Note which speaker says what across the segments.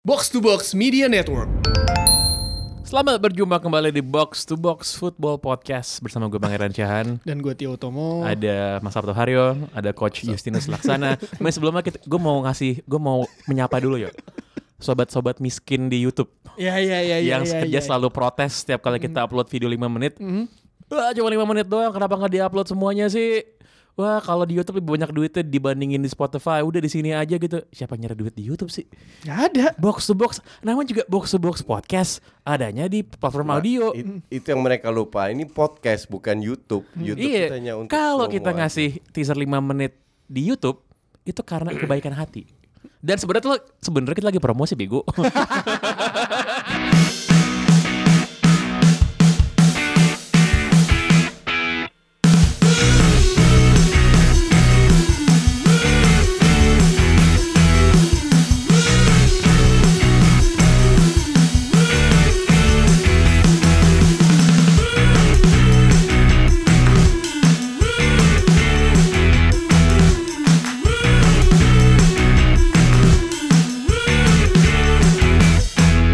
Speaker 1: Box to Box Media Network.
Speaker 2: Selamat berjumpa kembali di Box to Box Football Podcast bersama gue Pangeran Cahan.
Speaker 1: Dan gue Tio Tomo.
Speaker 2: Ada Mas Sabto Haryo, ada Coach Justinus Laksana. Mas sebelumnya kita, gue mau ngasih, gue mau menyapa dulu ya. Sobat-sobat miskin di YouTube
Speaker 1: Ya ya ya ya.
Speaker 2: yang
Speaker 1: ya,
Speaker 2: kerja
Speaker 1: ya.
Speaker 2: selalu protes setiap kali kita upload video 5 menit. Wah, cuma 5 menit doang, kenapa nggak diupload semuanya sih? Wah, kalau di YouTube lebih banyak duitnya dibandingin di Spotify. Udah di sini aja gitu. Siapa nyari duit di YouTube sih?
Speaker 1: Nggak ada.
Speaker 2: Box to box, namanya juga box to box podcast. Adanya di platform audio.
Speaker 3: It- itu yang mereka lupa. Ini podcast bukan YouTube. YouTube itu
Speaker 2: Iya,
Speaker 3: hanya untuk gitu.
Speaker 2: kalau kita
Speaker 3: promoan.
Speaker 2: ngasih teaser 5 menit di YouTube itu karena kebaikan hati. Dan sebenarnya tuh sebenarnya kita lagi promosi bego.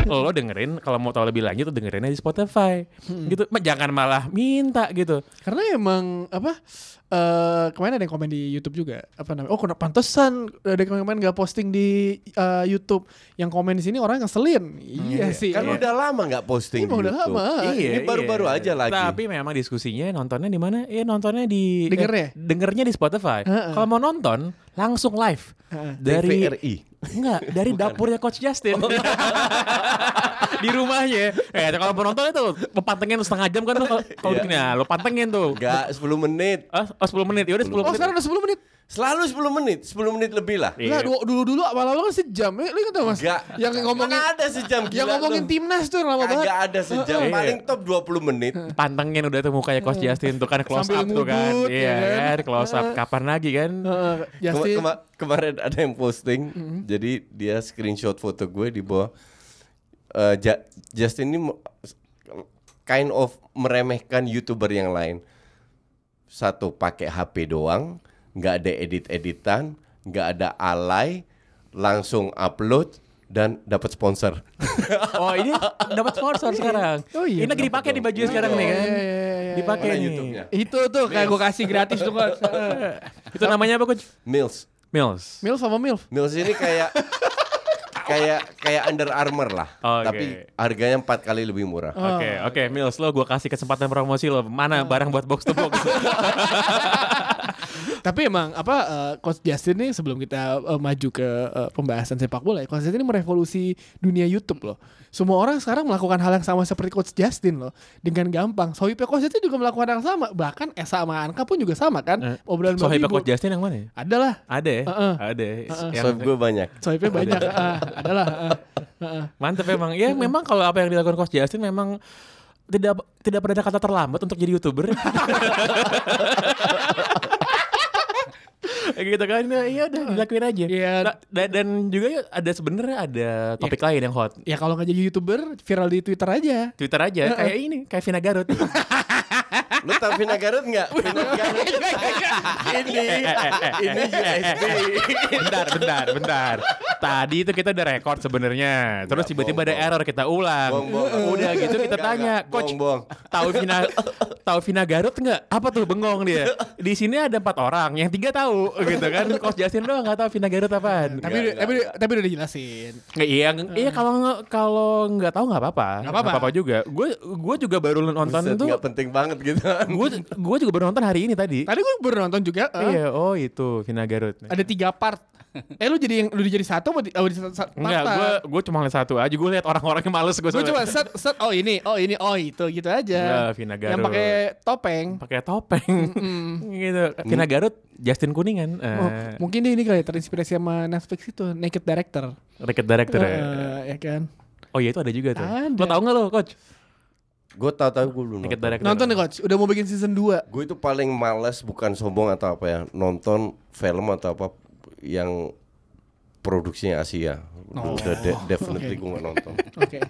Speaker 2: Lo dengerin kalau mau tahu lebih lanjut tuh dengerinnya di Spotify.
Speaker 3: Hmm.
Speaker 2: Gitu. Ma, Jangan malah minta gitu.
Speaker 1: Karena emang apa? eh kemarin ada yang komen di YouTube juga. Apa namanya? Oh, kenapa pantesan ada yang kemarin nggak posting di eh, YouTube? Yang komen di sini orang ngeselin. Iya sih.
Speaker 3: Kan
Speaker 1: Iya.
Speaker 3: udah lama nggak posting
Speaker 1: Emang
Speaker 3: di
Speaker 1: udah
Speaker 3: YouTube.
Speaker 1: lama.
Speaker 3: Iya, ini baru-baru aja lagi.
Speaker 2: Tapi memang diskusinya nontonnya di mana? Ya nontonnya di
Speaker 1: Dengernya?
Speaker 2: eh, dengernya di Spotify.
Speaker 1: Heeh.
Speaker 2: Kalau mau nonton langsung live.
Speaker 1: Heeh.
Speaker 2: Dari
Speaker 3: TVRI.
Speaker 2: Enggak, dari dapurnya Coach Justin. Oh. di rumahnya. Eh, kalau penonton itu lo pantengin setengah jam kan lo kalau- kalau
Speaker 3: Iya.
Speaker 2: gini nah, lo pantengin tuh.
Speaker 3: Nggak 10 menit.
Speaker 2: Ah, Oh, 10 menit. Yaudah 10
Speaker 1: Oh,
Speaker 2: menit.
Speaker 1: sekarang udah 10 menit.
Speaker 3: Selalu 10 menit, 10 menit lebih lah.
Speaker 1: Lah,
Speaker 2: Iya.
Speaker 1: du- dulu-dulu awal-awal kan sejam. Eh, Lu ingat nggak, Mas?
Speaker 3: Enggak.
Speaker 1: Yang ngomongin
Speaker 3: Mana ada sejam gila
Speaker 1: yang ngomongin
Speaker 3: lu.
Speaker 1: timnas tuh lama banget.
Speaker 3: Kagak ada sejam,
Speaker 2: Heeh.
Speaker 3: paling top 20 menit.
Speaker 2: Pantengin udah tuh mukanya Coach Justin tuh kan close
Speaker 1: Sambil
Speaker 2: up tuh kan.
Speaker 1: ngudut,
Speaker 2: Iya
Speaker 1: ya kan?
Speaker 2: kan, close up. Kapan lagi kan?
Speaker 1: Heeh, Ya
Speaker 3: Kema-
Speaker 1: Justin.
Speaker 3: kema- kemarin ada yang posting, jadi dia screenshot foto gue di bawah. eh, Ja- Justin ini mo- kind of meremehkan youtuber yang lain. Satu pakai HP doang, nggak ada edit-editan, nggak ada alay, langsung upload dan dapat sponsor.
Speaker 2: Oh, ini dapat sponsor sekarang.
Speaker 1: Oh, iya.
Speaker 2: Ini lagi dipakai di baju sekarang nih kan.
Speaker 1: Iya, iya, iya, iya.
Speaker 2: Dipakai
Speaker 3: Mana
Speaker 2: nih.
Speaker 3: YouTube-nya?
Speaker 1: Itu tuh kayak gue kasih gratis tuh Mas.
Speaker 2: Itu namanya apa Coach?
Speaker 3: Mills,
Speaker 2: Mills.
Speaker 1: Milf sama Milf.
Speaker 3: Mills ini kayak kayak kayak Under Armour lah,
Speaker 2: Oke.
Speaker 3: tapi harganya empat kali lebih murah.
Speaker 2: Oke, oke, Mills lo gua kasih kesempatan promosi lo. Mana barang buat box to box?
Speaker 1: Tapi emang apa eh, Coach Justin nih sebelum kita eh, maju ke eh, pembahasan sepak bola, ya, Coach Justin ini merevolusi dunia YouTube loh. Semua orang sekarang melakukan hal yang sama seperti Coach Justin loh, dengan gampang. Sohibnya Coach Justin juga melakukan hal yang sama, bahkan Esa sama Anka pun juga sama kan.
Speaker 2: Eh,
Speaker 1: Obrolan babi
Speaker 2: Sohibah
Speaker 1: bu-
Speaker 2: Coach Justin yang mana? ya?
Speaker 1: Adalah.
Speaker 2: Ada ya?
Speaker 1: Heeh.
Speaker 2: Ada. ya? Yang-
Speaker 3: Sob gue banyak.
Speaker 1: Sohibnya banyak. ah, adalah. ah, ah.
Speaker 2: Mantep emang. Ya memang kalau apa yang dilakukan Coach Justin memang tidak tidak pernah ada kata terlambat untuk jadi youtuber. gitu kan ya ya udah dilakuin aja
Speaker 1: Iya.
Speaker 2: Nah, dan, dan juga ya ada sebenarnya ada topik lain yang hot
Speaker 1: Ya kalau nggak jadi youtuber, viral di Twitter aja.
Speaker 2: Twitter aja kayak ini kayak Vina Garut
Speaker 3: Lu tau Vina Garut nggak? Vina Garut ini ini USB.
Speaker 2: bentar bentar bentar tadi itu kita udah record sebenarnya terus
Speaker 3: Nggak,
Speaker 2: tiba-tiba ada
Speaker 3: bohong, bohong.
Speaker 2: error kita ulang
Speaker 3: Bohong, bohong.
Speaker 2: udah gitu kita
Speaker 3: Nggak,
Speaker 2: tanya
Speaker 3: nggak.
Speaker 2: coach
Speaker 3: Bohong, bohong.
Speaker 2: tahu Vina tahu Vina Garut nggak apa tuh bengong dia di sini ada empat orang yang tiga tahu gitu kan coach Justin doang nggak tahu Vina Garut apaan
Speaker 1: Tapi
Speaker 3: Nggak,
Speaker 1: udah-
Speaker 3: nggak,
Speaker 1: tapi tapi udah dijelasin.
Speaker 2: Nggak, iya nge- iya kalau nge- kalau nggak tahu nggak apa-apa
Speaker 1: Nggak apa-apa.
Speaker 2: juga gue gue juga baru nonton
Speaker 3: Buset,
Speaker 2: tuh
Speaker 3: nggak penting banget gitu.
Speaker 2: gue gue juga baru nonton hari ini tadi
Speaker 1: Tadi gue baru nonton juga. ah.
Speaker 2: iya oh itu Vina Garut
Speaker 1: Ada tiga part. Eh lu jadi yang lu jadi satu apa di, apa di satu, satu
Speaker 2: Enggak,
Speaker 1: part-part?
Speaker 2: gue gue cuma lihat satu aja. Gue lihat orang-orang yang males gue.
Speaker 1: Gue cuma set set oh ini, oh ini, oh itu gitu aja.
Speaker 2: Ya, Vina
Speaker 1: Yang
Speaker 2: Garut.
Speaker 1: pakai topeng. Hmm.
Speaker 2: pakai topeng gitu. Vina Garut, Justin Kuningan, eh
Speaker 1: Oh, mungkin dia ini kali ya, terinspirasi sama Netflix itu Naked Director.
Speaker 2: Record Director ya.
Speaker 1: Eh, ya kan.
Speaker 2: Oh iya itu ada juga tuh.
Speaker 1: Ada.
Speaker 2: Lo tau gak lo coach?
Speaker 3: gue tau tau gue belum.
Speaker 2: Record
Speaker 3: nonton.
Speaker 2: Director.
Speaker 1: Nonton nih coach, udah mau bikin season 2.
Speaker 3: Gue itu paling males bukan sombong atau apa ya nonton film atau apa yang produksinya Asia. Udah de-
Speaker 1: Oke.
Speaker 3: definitely gue gak nonton.
Speaker 1: Oke.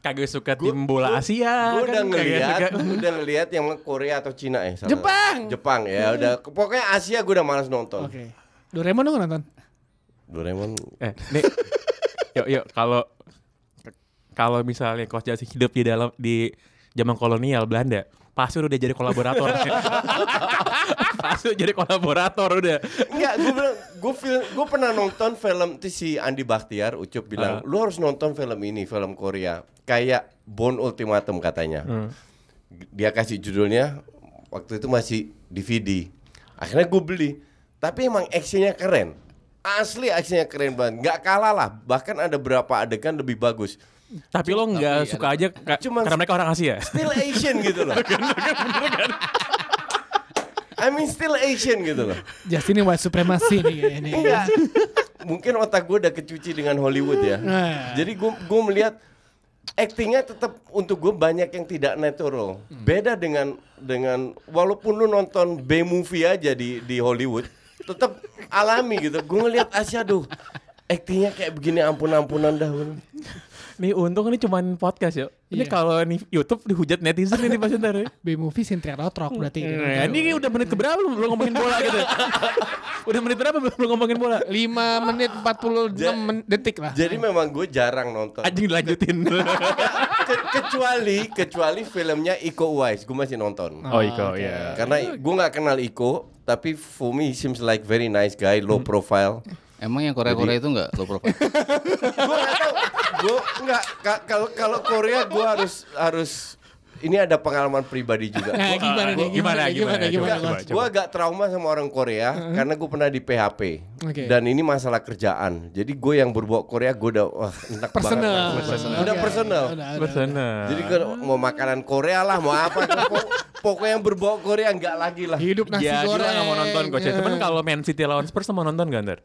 Speaker 2: Kagak suka tim bola Asia.
Speaker 3: Gue udah
Speaker 2: kan, kagak
Speaker 3: ngeliat,
Speaker 2: suka.
Speaker 3: udah ngeliat yang Korea atau Cina ya. salah.
Speaker 1: Jepang!
Speaker 3: Jepang ya udah. Pokoknya Asia gue udah males nonton.
Speaker 1: Oke. Doraemon dong nonton.
Speaker 3: Doraemon
Speaker 2: Eh, nih. yuk yuk kalau kalau misalnya Coach Justin hidup di dalam di zaman kolonial Belanda pasti udah jadi kolaborator pasti udah jadi kolaborator udah
Speaker 3: Enggak, gue Iya, bilang, gue film, gue pernah nonton film itu si Andi Bakhtiar, Ucup bilang,
Speaker 2: Ah.
Speaker 3: lu harus nonton film ini, film Korea, kayak Bond Ultimatum katanya. Dia kasih judulnya, waktu itu masih DVD. Akhirnya gue beli, tapi emang actionnya keren, asli actionnya keren banget, nggak kalah lah, bahkan ada berapa adegan lebih bagus.
Speaker 2: tapi ya lo nggak
Speaker 4: Tapi
Speaker 2: suka aja ka-
Speaker 3: Cuman-
Speaker 2: karena mereka orang Asia
Speaker 3: Still Asian gitu loh. I mean still Asian gitu loh.
Speaker 1: Justin yang white supremacy nih kayaknya. nih.
Speaker 3: Enggak. Mungkin otak gue udah kecuci dengan Hollywood ya.
Speaker 1: Nah.
Speaker 3: Jadi gue gue melihat actingnya tetap untuk gue banyak yang tidak natural. Beda dengan dengan walaupun lu nonton B movie aja di di Hollywood, tetap alami gitu. Gue ngelihat Asia aduh actingnya kayak begini ampun-ampunan dah.
Speaker 2: nih untung ini cuman podcast ya ini
Speaker 1: Iya.
Speaker 2: kalau nih YouTube dihujat netizen ini pasti ntar ya.
Speaker 1: B-movie Sintra Rotrok berarti. Gitu.
Speaker 2: Nah, ini udah menit keberapa belum belum ngomongin bola gitu udah menit berapa belum belum ngomongin bola
Speaker 1: 5 menit 46
Speaker 3: Ja-
Speaker 1: men- detik lah.
Speaker 3: Jadi memang gue jarang nonton.
Speaker 2: anjing dilanjutin
Speaker 3: Ke- kecuali kecuali filmnya Iko Uwais, gue masih nonton.
Speaker 2: oh Iko ya
Speaker 3: Karena gue nggak kenal Iko, tapi for me he seems like very nice guy, low profile.
Speaker 4: Emang yang Korea-Korea itu nggak low profile?
Speaker 3: gue nggak tahu gue nggak ka- kalau kalau Korea gue harus harus ini ada pengalaman pribadi juga
Speaker 1: Nah, gimana nih? Gimana,
Speaker 2: Gimana,
Speaker 1: gimana,
Speaker 2: gimana,
Speaker 1: gimana,
Speaker 2: coba,
Speaker 1: Mas?
Speaker 2: coba.
Speaker 3: gue agak trauma sama orang Korea karena gue pernah di PHP
Speaker 1: Oke.
Speaker 3: dan ini masalah kerjaan jadi gue yang berbau Korea gue udah wah enak
Speaker 1: Personal.
Speaker 3: banget udah
Speaker 1: Oke,
Speaker 3: personal
Speaker 1: udah, udah.
Speaker 2: Bersana.
Speaker 3: jadi gue mau makanan Korea lah mau apa pokok- pokoknya yang berbau Korea nggak lagi lah
Speaker 1: Hidup nasi
Speaker 2: ya,
Speaker 1: goreng.
Speaker 2: kita gak mau nonton coach ya. Cuman kalau Man City lawan Spurs lo mau nonton gak ntar?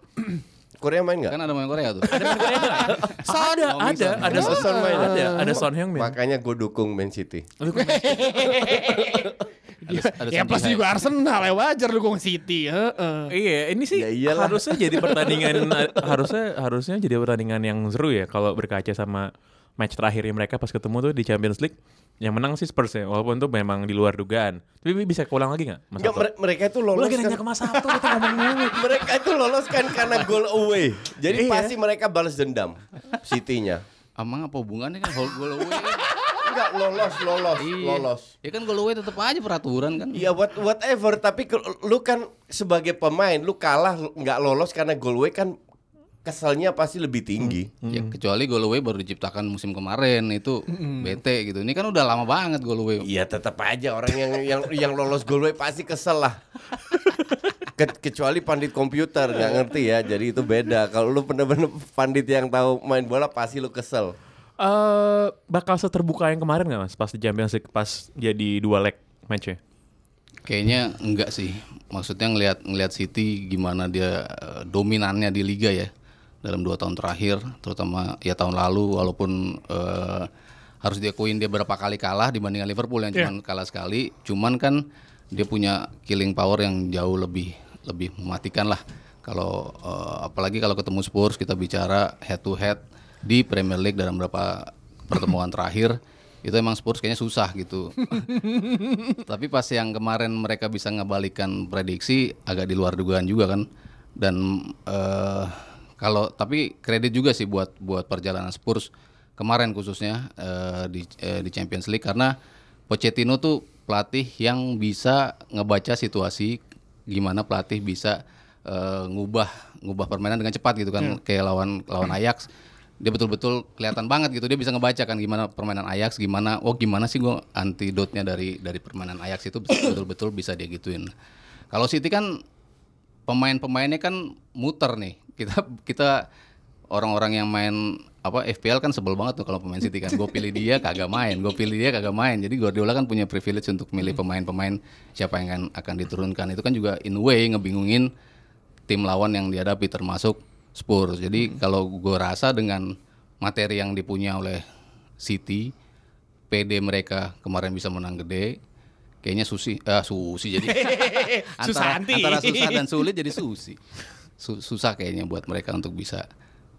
Speaker 3: Korea main nggak
Speaker 4: kan ada main Korea tuh.
Speaker 2: ada,
Speaker 4: Son.
Speaker 2: ada, Iya. ada,
Speaker 3: Ada Son main.
Speaker 2: ada, ya, ada Son Heung-min.
Speaker 3: makanya gue dukung Man City
Speaker 1: Dia-
Speaker 4: ada
Speaker 1: ya
Speaker 4: Sandy
Speaker 1: plus
Speaker 4: Hyde.
Speaker 1: juga Arsenal ya wajar lu gong City. heeh.
Speaker 2: Iya, ini sih
Speaker 3: Ya iyalah.
Speaker 2: harusnya jadi pertandingan eh, harusnya harusnya jadi pertandingan yang seru ya kalau berkaca sama match terakhirnya mereka pas ketemu tuh di Champions League yang menang sih Spurs ya walaupun tuh memang di luar dugaan. Tapi bisa keulang lagi nggak? Mas
Speaker 3: Nggak,
Speaker 2: Sabto?
Speaker 3: mere- mereka itu
Speaker 2: Lu
Speaker 3: lolos
Speaker 2: lagi
Speaker 3: kan-
Speaker 2: nanya ke Mas Sabto kita ngomong mulu.
Speaker 3: mereka itu lolos kan karena goal away. Jadi
Speaker 2: Iya.
Speaker 3: pasti mereka balas dendam City-nya.
Speaker 4: Emang apa hubungannya kan Hol- goal away? kan?
Speaker 3: Enggak lolos, lolos,
Speaker 4: Iya.
Speaker 3: lolos.
Speaker 4: Ya kan goal away tetap aja peraturan kan.
Speaker 3: Ya what, whatever, tapi ke- lu kan sebagai pemain lu kalah lu nggak lolos karena goal away kan keselnya pasti lebih tinggi.
Speaker 4: Ya, kecuali goal away baru diciptakan musim kemarin itu bete gitu. Ini kan udah lama banget goal away.
Speaker 3: Iya tetap aja orang yang yang yang lolos goal away pasti kesel lah. Ke- kecuali pandit komputer nggak ngerti ya, jadi itu beda. Kalau lu bener-bener pandit yang tahu main bola pasti lu kesel.
Speaker 2: Eh, bakal seterbuka yang kemarin nggak mas? Pas di Champions League pas jadi dua leg matchnya.
Speaker 4: Kayaknya enggak sih. Maksudnya ngelihat ngelihat City gimana dia eh, dominannya di liga ya dalam dua tahun terakhir, terutama ya tahun lalu walaupun eh, harus diakuin dia berapa kali kalah dibandingkan Liverpool yang cuman kalah sekali, cuman kan dia punya killing power yang jauh lebih lebih mematikan lah. Kalau eh, apalagi kalau ketemu Spurs kita bicara head to head di Premier League dalam beberapa pertemuan terakhir itu emang Spurs kayaknya susah gitu. Tapi pas yang kemarin mereka bisa ngebalikan prediksi agak di luar dugaan juga kan. Dan eh, kalau tapi kredit juga sih buat buat perjalanan Spurs kemarin khususnya eh, di eh, di Champions League karena Pochettino tuh pelatih yang bisa ngebaca situasi gimana pelatih bisa eh, ngubah ngubah permainan dengan cepat gitu kan kayak lawan lawan Ajax dia betul-betul kelihatan banget gitu dia bisa ngebaca kan gimana permainan Ajax gimana oh gimana sih gue antidotnya dari dari permainan Ajax itu betul-betul bisa dia gituin kalau City kan pemain-pemainnya kan muter nih kita kita orang-orang yang main apa FPL kan sebel banget tuh kalau pemain City kan gue pilih dia kagak main gue pilih dia kagak main jadi Guardiola kan punya privilege untuk milih pemain-pemain siapa yang akan akan diturunkan itu kan juga in a way ngebingungin tim lawan yang dihadapi termasuk Spurs. Jadi kalau gue rasa dengan materi yang dipunya oleh City, PD mereka kemarin bisa menang gede. Kayaknya Susi, eh Susi jadi antara,
Speaker 1: Susanti.
Speaker 4: antara susah dan sulit jadi Susi. Su- susah kayaknya buat mereka untuk bisa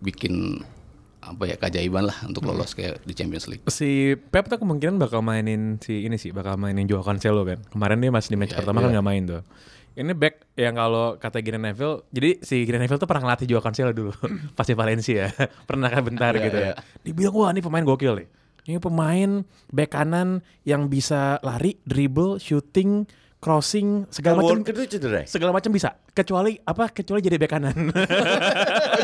Speaker 4: bikin apa ya keajaiban lah untuk lolos kayak di Champions League.
Speaker 2: si Pep tuh
Speaker 3: Iya,
Speaker 2: kemungkinan bakal mainin si ini sih bakal mainin Joao Cancelo kan kemarin dia masih di match pertama kan nggak main tuh Ini back yang kalau kata Gary Neville, jadi si Gary Neville tuh pernah ngelatih Joao Cancelo dulu, pasti Valencia, pernah kan bentar gitu.
Speaker 3: iya.
Speaker 2: Dibilang wah ini pemain gokil nih. Ini pemain back kanan yang bisa lari, dribble, shooting, crossing, segala macam.
Speaker 3: Walker itu cedera. ya?
Speaker 2: Segala macam bisa, kecuali apa? Kecuali jadi back kanan.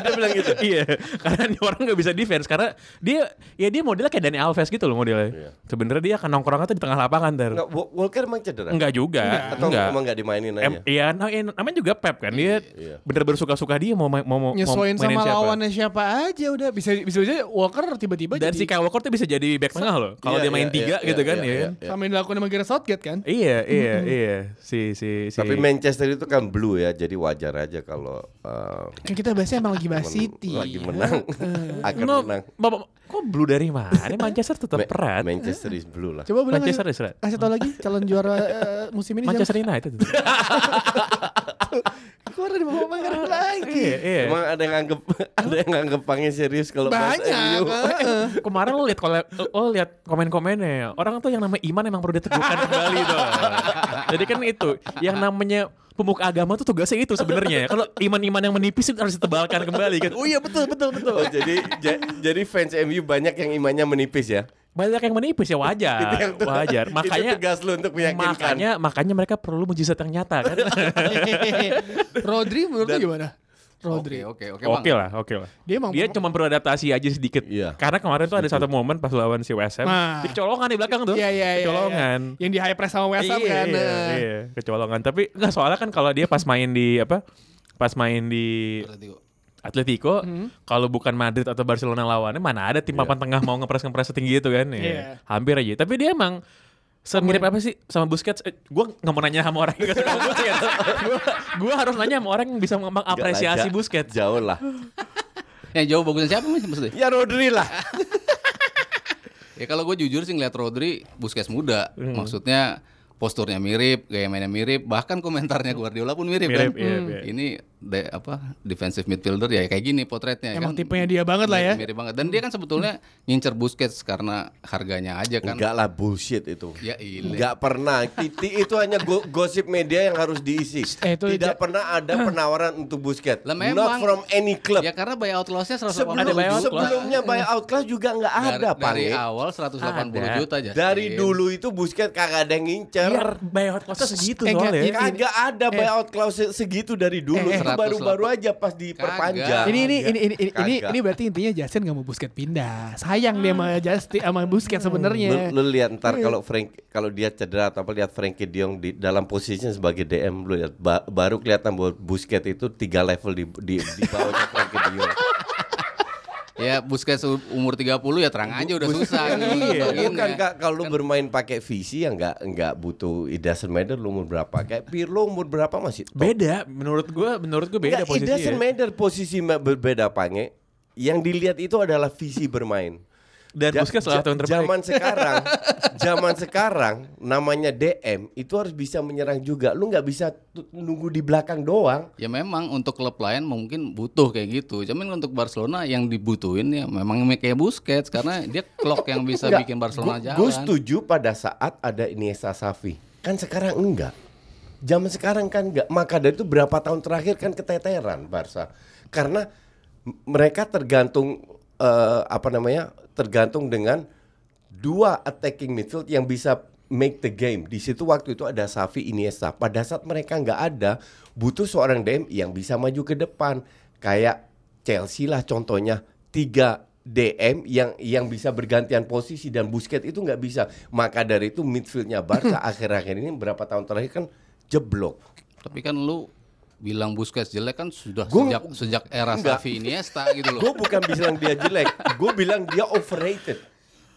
Speaker 3: Dia bilang gitu.
Speaker 2: iya karena ini orang nggak bisa defense karena dia ya dia modelnya kayak Dani Alves gitu loh modelnya
Speaker 3: Iya.
Speaker 2: sebenarnya dia akan nongkrongnya tuh di tengah lapangan ter
Speaker 3: Nggak, Wa- Walker emang cedera.
Speaker 2: enggak juga
Speaker 3: Atau
Speaker 2: enggak
Speaker 3: emang ya? enggak dimainin aja.
Speaker 2: Em, iya nah, iya, namanya juga Pep kan dia
Speaker 3: Iya.
Speaker 2: bener-bener suka-suka dia mau main- mau mau
Speaker 1: Nyesuaiin
Speaker 2: mainin
Speaker 1: sama
Speaker 2: siapa.
Speaker 1: lawannya siapa aja udah bisa bisa aja Walker tiba-tiba
Speaker 2: dan si
Speaker 1: jadi
Speaker 2: Kyle Walker tuh bisa jadi back tengah loh kalau
Speaker 3: Iya,
Speaker 2: dia main
Speaker 3: iya,
Speaker 2: tiga
Speaker 3: iya,
Speaker 2: gitu
Speaker 3: iya,
Speaker 2: kan
Speaker 3: iya,
Speaker 2: ya
Speaker 3: iya.
Speaker 2: kan?
Speaker 1: sama yang dilakukan sama Gareth Southgate kan.
Speaker 2: iya iya iya si si si
Speaker 3: Tapi Manchester itu kan blue ya, jadi wajar aja kalau uh,
Speaker 1: Kan kita bahasnya emang lagi bahas
Speaker 3: men-
Speaker 1: City.
Speaker 3: lagi menang akan
Speaker 2: No,
Speaker 3: kan menang.
Speaker 2: Bapak- kok blue dari mana Manchester tetap
Speaker 3: Ma-
Speaker 2: erat
Speaker 3: Manchester is blue lah.
Speaker 1: Coba boleh
Speaker 2: Manchester
Speaker 1: ngasih,
Speaker 2: is red.
Speaker 1: kasih tau lagi calon juara eh, musim ini
Speaker 2: Manchester United
Speaker 1: siapa? Keluar dari bawah Manchester lagi.
Speaker 2: iya iya
Speaker 3: Emang ada yang anggap ada yang anggap pangnya serius kalau bahas
Speaker 1: Banyak.
Speaker 3: MU.
Speaker 1: heeh.
Speaker 2: Eh, Kemarin lo lihat kole- lo lihat komen-komennya ya. orang tuh yang namanya iman emang perlu diteguhkan kembali tuh. Jadi kan itu yang namanya pemuka agama tuh tugasnya itu sebenarnya. Kalau iman-iman yang menipis itu harus ditebalkan kembali kan. Oh iya betul betul betul.
Speaker 3: Oh, jadi ja- jadi fans MU banyak yang imannya menipis ya.
Speaker 2: Banyak yang menipis ya
Speaker 3: Itu yang
Speaker 2: wajar,
Speaker 3: tuh-
Speaker 2: wajar.
Speaker 3: itu
Speaker 2: Makanya
Speaker 3: tegas lu untuk meyakinkan.
Speaker 2: makanya makanya mereka perlu mujizat yang nyata kan.
Speaker 1: eh. Rodri menurut lu gimana? Rodri.
Speaker 4: Oke, oke, oke.
Speaker 2: oke
Speaker 4: Bang.
Speaker 2: lah, oke lah.
Speaker 1: Dia emang-
Speaker 2: dia cuma beradaptasi aja sedikit.
Speaker 3: Iya.
Speaker 2: Karena kemarin tuh ada satu momen pas lawan si West Ham,
Speaker 1: Nah.
Speaker 2: dicolongan di belakang tuh.
Speaker 1: Iya iya iya.
Speaker 2: Dicolongan.
Speaker 1: iya. Yang di high press sama West Ham
Speaker 2: iya,
Speaker 1: kan.
Speaker 2: iya,
Speaker 1: eh.
Speaker 2: iya, kecolongan. Tapi nggak soalnya kan kalau dia pas main di apa? Pas main di
Speaker 4: Atletico.
Speaker 2: Atletico, kalau bukan Madrid atau Barcelona lawannya mana ada tim papan tengah mau ngepres ngepres setinggi itu kan? Ya,
Speaker 1: Iya.
Speaker 2: Hampir aja. Tapi dia emang semirip apa sih sama Busquets? Eh, gue nggak mau nanya sama orang yang gak suka sama Busquets. gue gue harus nanya sama orang yang bisa mengapresiasi
Speaker 3: Nggak lah, ja-
Speaker 2: Busquets.
Speaker 3: Jauh lah.
Speaker 4: Yang Eh, jauh bagusnya siapa Mas maksudnya?
Speaker 3: Ya Rodri lah.
Speaker 4: Ya kalau gue jujur sih ngeliat Rodri Busquets muda. Maksudnya posturnya mirip, gaya mainnya mirip, bahkan komentarnya Guardiola pun mirip,
Speaker 2: Mirip,
Speaker 4: kan.
Speaker 2: iya, iya.
Speaker 4: Ini de- apa defensive midfielder ya kayak gini potretnya
Speaker 1: Emang
Speaker 4: kan.
Speaker 1: tipenya dia banget lah ya.
Speaker 4: Mirip, mirip banget. Dan dia kan sebetulnya ngincer Busquets karena harganya aja kan.
Speaker 3: Enggak lah bullshit itu.
Speaker 4: Ya ilah.
Speaker 3: Enggak pernah. Titi itu hanya go- gosip media yang harus diisi.
Speaker 1: Eh, itu ja-
Speaker 3: Tidak pernah ada penawaran untuk Busquets.
Speaker 4: Lah,
Speaker 3: Not
Speaker 4: memang.
Speaker 3: from any club.
Speaker 4: Ya karena buyout loss-nya 180
Speaker 3: Sebelum,
Speaker 2: Ada buyout
Speaker 4: juta.
Speaker 2: clause.
Speaker 3: sebelumnya
Speaker 1: Iya.
Speaker 3: buyout class juga nggak ada,
Speaker 4: dari,
Speaker 3: Pak.
Speaker 4: dari awal 180
Speaker 2: Ada.
Speaker 4: juta aja.
Speaker 3: Dari dulu itu Busquets kagak ada yang
Speaker 2: Biar
Speaker 3: ngincer.
Speaker 1: Iya.
Speaker 2: buyout Iya, cost segitu
Speaker 1: Eh, nggak,
Speaker 2: soalnya.
Speaker 1: iya.
Speaker 3: Kagak ada buyout clause se- segitu dari dulu.
Speaker 4: Eh, eh.
Speaker 3: Itu baru-baru aja pas diperpanjang.
Speaker 1: Ini ini ini ini ini ini,
Speaker 3: Kagak.
Speaker 1: ini berarti intinya Justin gak mau Busquets pindah. Sayang dia sama Justin sama Busquets sebenarnya.
Speaker 3: Lu, lu lihat ntar kalau Frank kalau dia cedera atau apa lihat Frankie De Jong di dalam posisinya sebagai DM lu lihat ba- baru kelihatan bahwa Busquets itu tiga level di di, di bawahnya Frankie De Jong.
Speaker 4: Ya Busquets umur 30 ya terang aja udah susah. gitu,
Speaker 3: Iya,
Speaker 4: Bagiannya.
Speaker 3: bukan Kak, kalau lu bermain pakai visi ya nggak nggak butuh it doesn't matter lu umur berapa. Kayak Pirlo umur berapa masih top.
Speaker 2: Beda, menurut gue, menurut gue beda
Speaker 3: Nggak, it doesn't
Speaker 2: posisinya.
Speaker 3: matter posisi iya. ma- berbeda Pange. Yang dilihat itu adalah visi bermain.
Speaker 2: Dan
Speaker 3: Ja-
Speaker 2: Busquets salah
Speaker 3: ja-
Speaker 2: satu yang terbaik.
Speaker 3: Zaman sekarang, zaman sekarang namanya DM itu harus bisa menyerang juga. Lu nggak bisa tu- nunggu di belakang doang.
Speaker 4: Ya memang untuk klub lain mungkin butuh kayak gitu. Cuman untuk Barcelona yang dibutuhin ya memang kayak Busquets karena dia clock yang bisa
Speaker 3: Nggak,
Speaker 4: bikin Barcelona
Speaker 3: gua-
Speaker 4: jalan.
Speaker 3: Gua setuju pada saat ada Iniesta Safi. Kan sekarang enggak. Zaman sekarang kan enggak. Maka dari itu berapa tahun terakhir kan keteteran Barca. Karena m- mereka tergantung eh, apa namanya? tergantung dengan dua attacking midfield yang bisa make the game. Di situ waktu itu ada Safi, Iniesta. Pada saat mereka nggak ada, butuh seorang DM yang bisa maju ke depan. Kayak Chelsea lah contohnya tiga DM yang yang bisa bergantian posisi dan Busquets itu nggak bisa. Maka dari itu midfieldnya Barca akhir-akhir ini berapa tahun terakhir kan jeblok.
Speaker 4: Tapi kan lu bilang Busquets jelek kan sudah
Speaker 3: Gua-
Speaker 4: sejak sejak era
Speaker 3: Enggak.
Speaker 4: Xavi Iniesta gitu loh.
Speaker 3: Gue bukan bilang dia jelek, gue bilang dia overrated.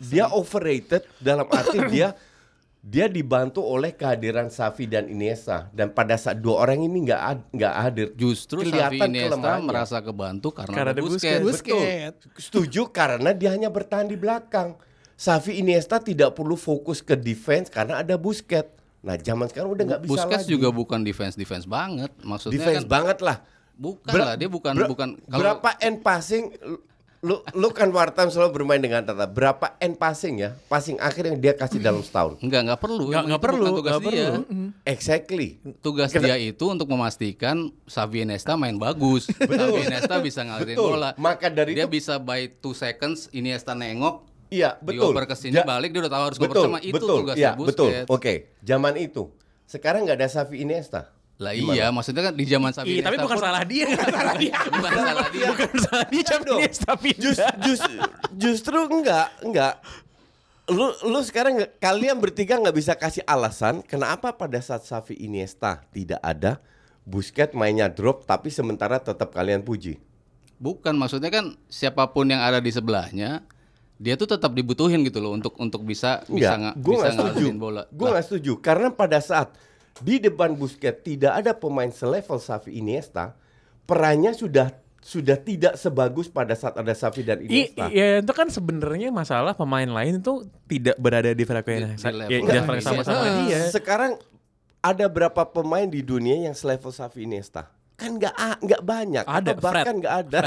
Speaker 3: Dia overrated dalam arti dia dia dibantu oleh kehadiran Safi dan Iniesta dan pada saat dua orang ini nggak ad- nggak hadir
Speaker 4: Justru Xavi
Speaker 3: Kelihatan
Speaker 4: Iniesta
Speaker 3: kelemahannya.
Speaker 4: merasa kebantu karena,
Speaker 2: Karena ada
Speaker 4: ada Busquets.
Speaker 2: Busquets.
Speaker 3: Betul.
Speaker 1: Busquets.
Speaker 3: Setuju karena dia hanya bertahan di belakang. Xavi Iniesta tidak perlu fokus ke defense karena ada Busquets. Nah, zaman sekarang udah nggak bisa
Speaker 4: Busquets
Speaker 3: lagi.
Speaker 4: juga bukan defense defense banget. Maksudnya
Speaker 3: defense
Speaker 4: kan
Speaker 3: banget lah.
Speaker 4: bukan
Speaker 3: Ber-
Speaker 4: lah dia bukan
Speaker 3: ber-
Speaker 4: bukan
Speaker 3: berapa end passing l- lu lu kan Wartam selalu bermain dengan data. Berapa end passing ya? Passing akhir yang dia kasih dalam setahun.
Speaker 4: Enggak, enggak perlu.
Speaker 2: Nggak- nggak
Speaker 4: Emang itu bukan
Speaker 2: perlu,
Speaker 4: Tugas
Speaker 2: nggak
Speaker 4: dia.
Speaker 2: perlu.
Speaker 3: Exactly.
Speaker 4: Tugas dia itu untuk memastikan Xavi Iniesta main bagus. Xavi Iniesta bisa ngalirin
Speaker 3: Betul.
Speaker 4: bola.
Speaker 3: Maka dari
Speaker 4: dia
Speaker 3: itu-
Speaker 4: bisa by two seconds Iniesta nengok,
Speaker 3: Iya, betul.
Speaker 4: dioper ke sini
Speaker 3: Ja-
Speaker 4: balik dia udah tahu harus ngoper
Speaker 3: betul,
Speaker 4: sama itu
Speaker 3: betul,
Speaker 4: tugasnya
Speaker 3: ya,
Speaker 4: Busquets.
Speaker 3: betul. Oke, zaman itu. Sekarang nggak ada Safi Iniesta.
Speaker 4: Lah iya, maksudnya kan di zaman Xavi
Speaker 2: Ih, Iya, tapi
Speaker 4: Iniesta
Speaker 2: bukan
Speaker 4: pun-
Speaker 2: salah dia, bukan salah dia.
Speaker 4: Bukan salah dia.
Speaker 2: Bukan salah dia, Xavi
Speaker 3: Iya dong.
Speaker 2: Iniesta pindah.
Speaker 3: Jus, jus, justru enggak, enggak. Lu lu sekarang nggak- kalian bertiga nggak bisa kasih alasan kenapa pada saat Safi Iniesta tidak ada, Busquets mainnya drop tapi sementara tetap kalian puji.
Speaker 4: Bukan maksudnya kan siapapun yang ada di sebelahnya dia tuh tetap dibutuhin gitu loh untuk untuk bisa bisa
Speaker 3: Enggak,
Speaker 4: nga-
Speaker 3: gue Iya.
Speaker 4: bisa
Speaker 3: nggak setuju.
Speaker 4: ngalirin bola.
Speaker 3: Gue nggak setuju karena pada saat di depan Busquets tidak ada pemain selevel Xavi Iniesta, perannya sudah sudah tidak sebagus pada saat ada Xavi dan
Speaker 2: I-
Speaker 3: Iniesta.
Speaker 2: Iya itu kan sebenarnya masalah pemain lain itu tidak berada di frekuensi ya,
Speaker 4: Di- di level
Speaker 2: di
Speaker 4: yang
Speaker 2: frekuensi
Speaker 4: sama.
Speaker 3: Ah.
Speaker 2: sama-sama Iya. dia.
Speaker 3: Sekarang ada berapa pemain di dunia yang selevel Xavi Iniesta? Kan nggak a- nggak banyak.
Speaker 2: Ada,
Speaker 3: atau bahkan
Speaker 2: Fred.
Speaker 3: nggak ada.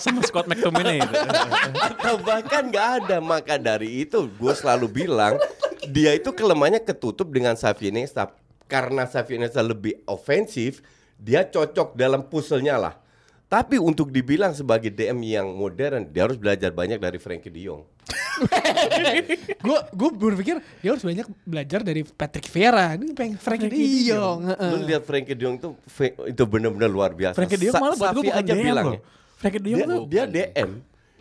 Speaker 2: Sama Scott McTominay. itu.
Speaker 3: atau bahkan nggak ada. Maka dari itu gue selalu bilang dia itu kelemahannya ketutup dengan Xavi Iniesta. Karena Xavi Iniesta lebih ofensif, dia cocok dalam puzzle-nya lah. Tapi untuk dibilang sebagai DM yang modern, dia harus belajar banyak dari Frankie De Jong.
Speaker 1: Gue gue berpikir dia harus banyak belajar dari Patrick Vieira. Ini pengen Frankie De Jong. Heeh.
Speaker 3: Lu lihat Frankie De Jong itu fe- itu benar-benar luar biasa.
Speaker 2: Frankie Eh. De Jong
Speaker 3: Sa-
Speaker 2: malah buat gue
Speaker 3: Xavi
Speaker 2: bukan
Speaker 3: aja
Speaker 2: DM
Speaker 3: bilang
Speaker 2: loh.
Speaker 3: ya.
Speaker 2: Frankie De Jong
Speaker 3: dia,
Speaker 2: tuh
Speaker 3: dia
Speaker 4: bukan.
Speaker 3: DM.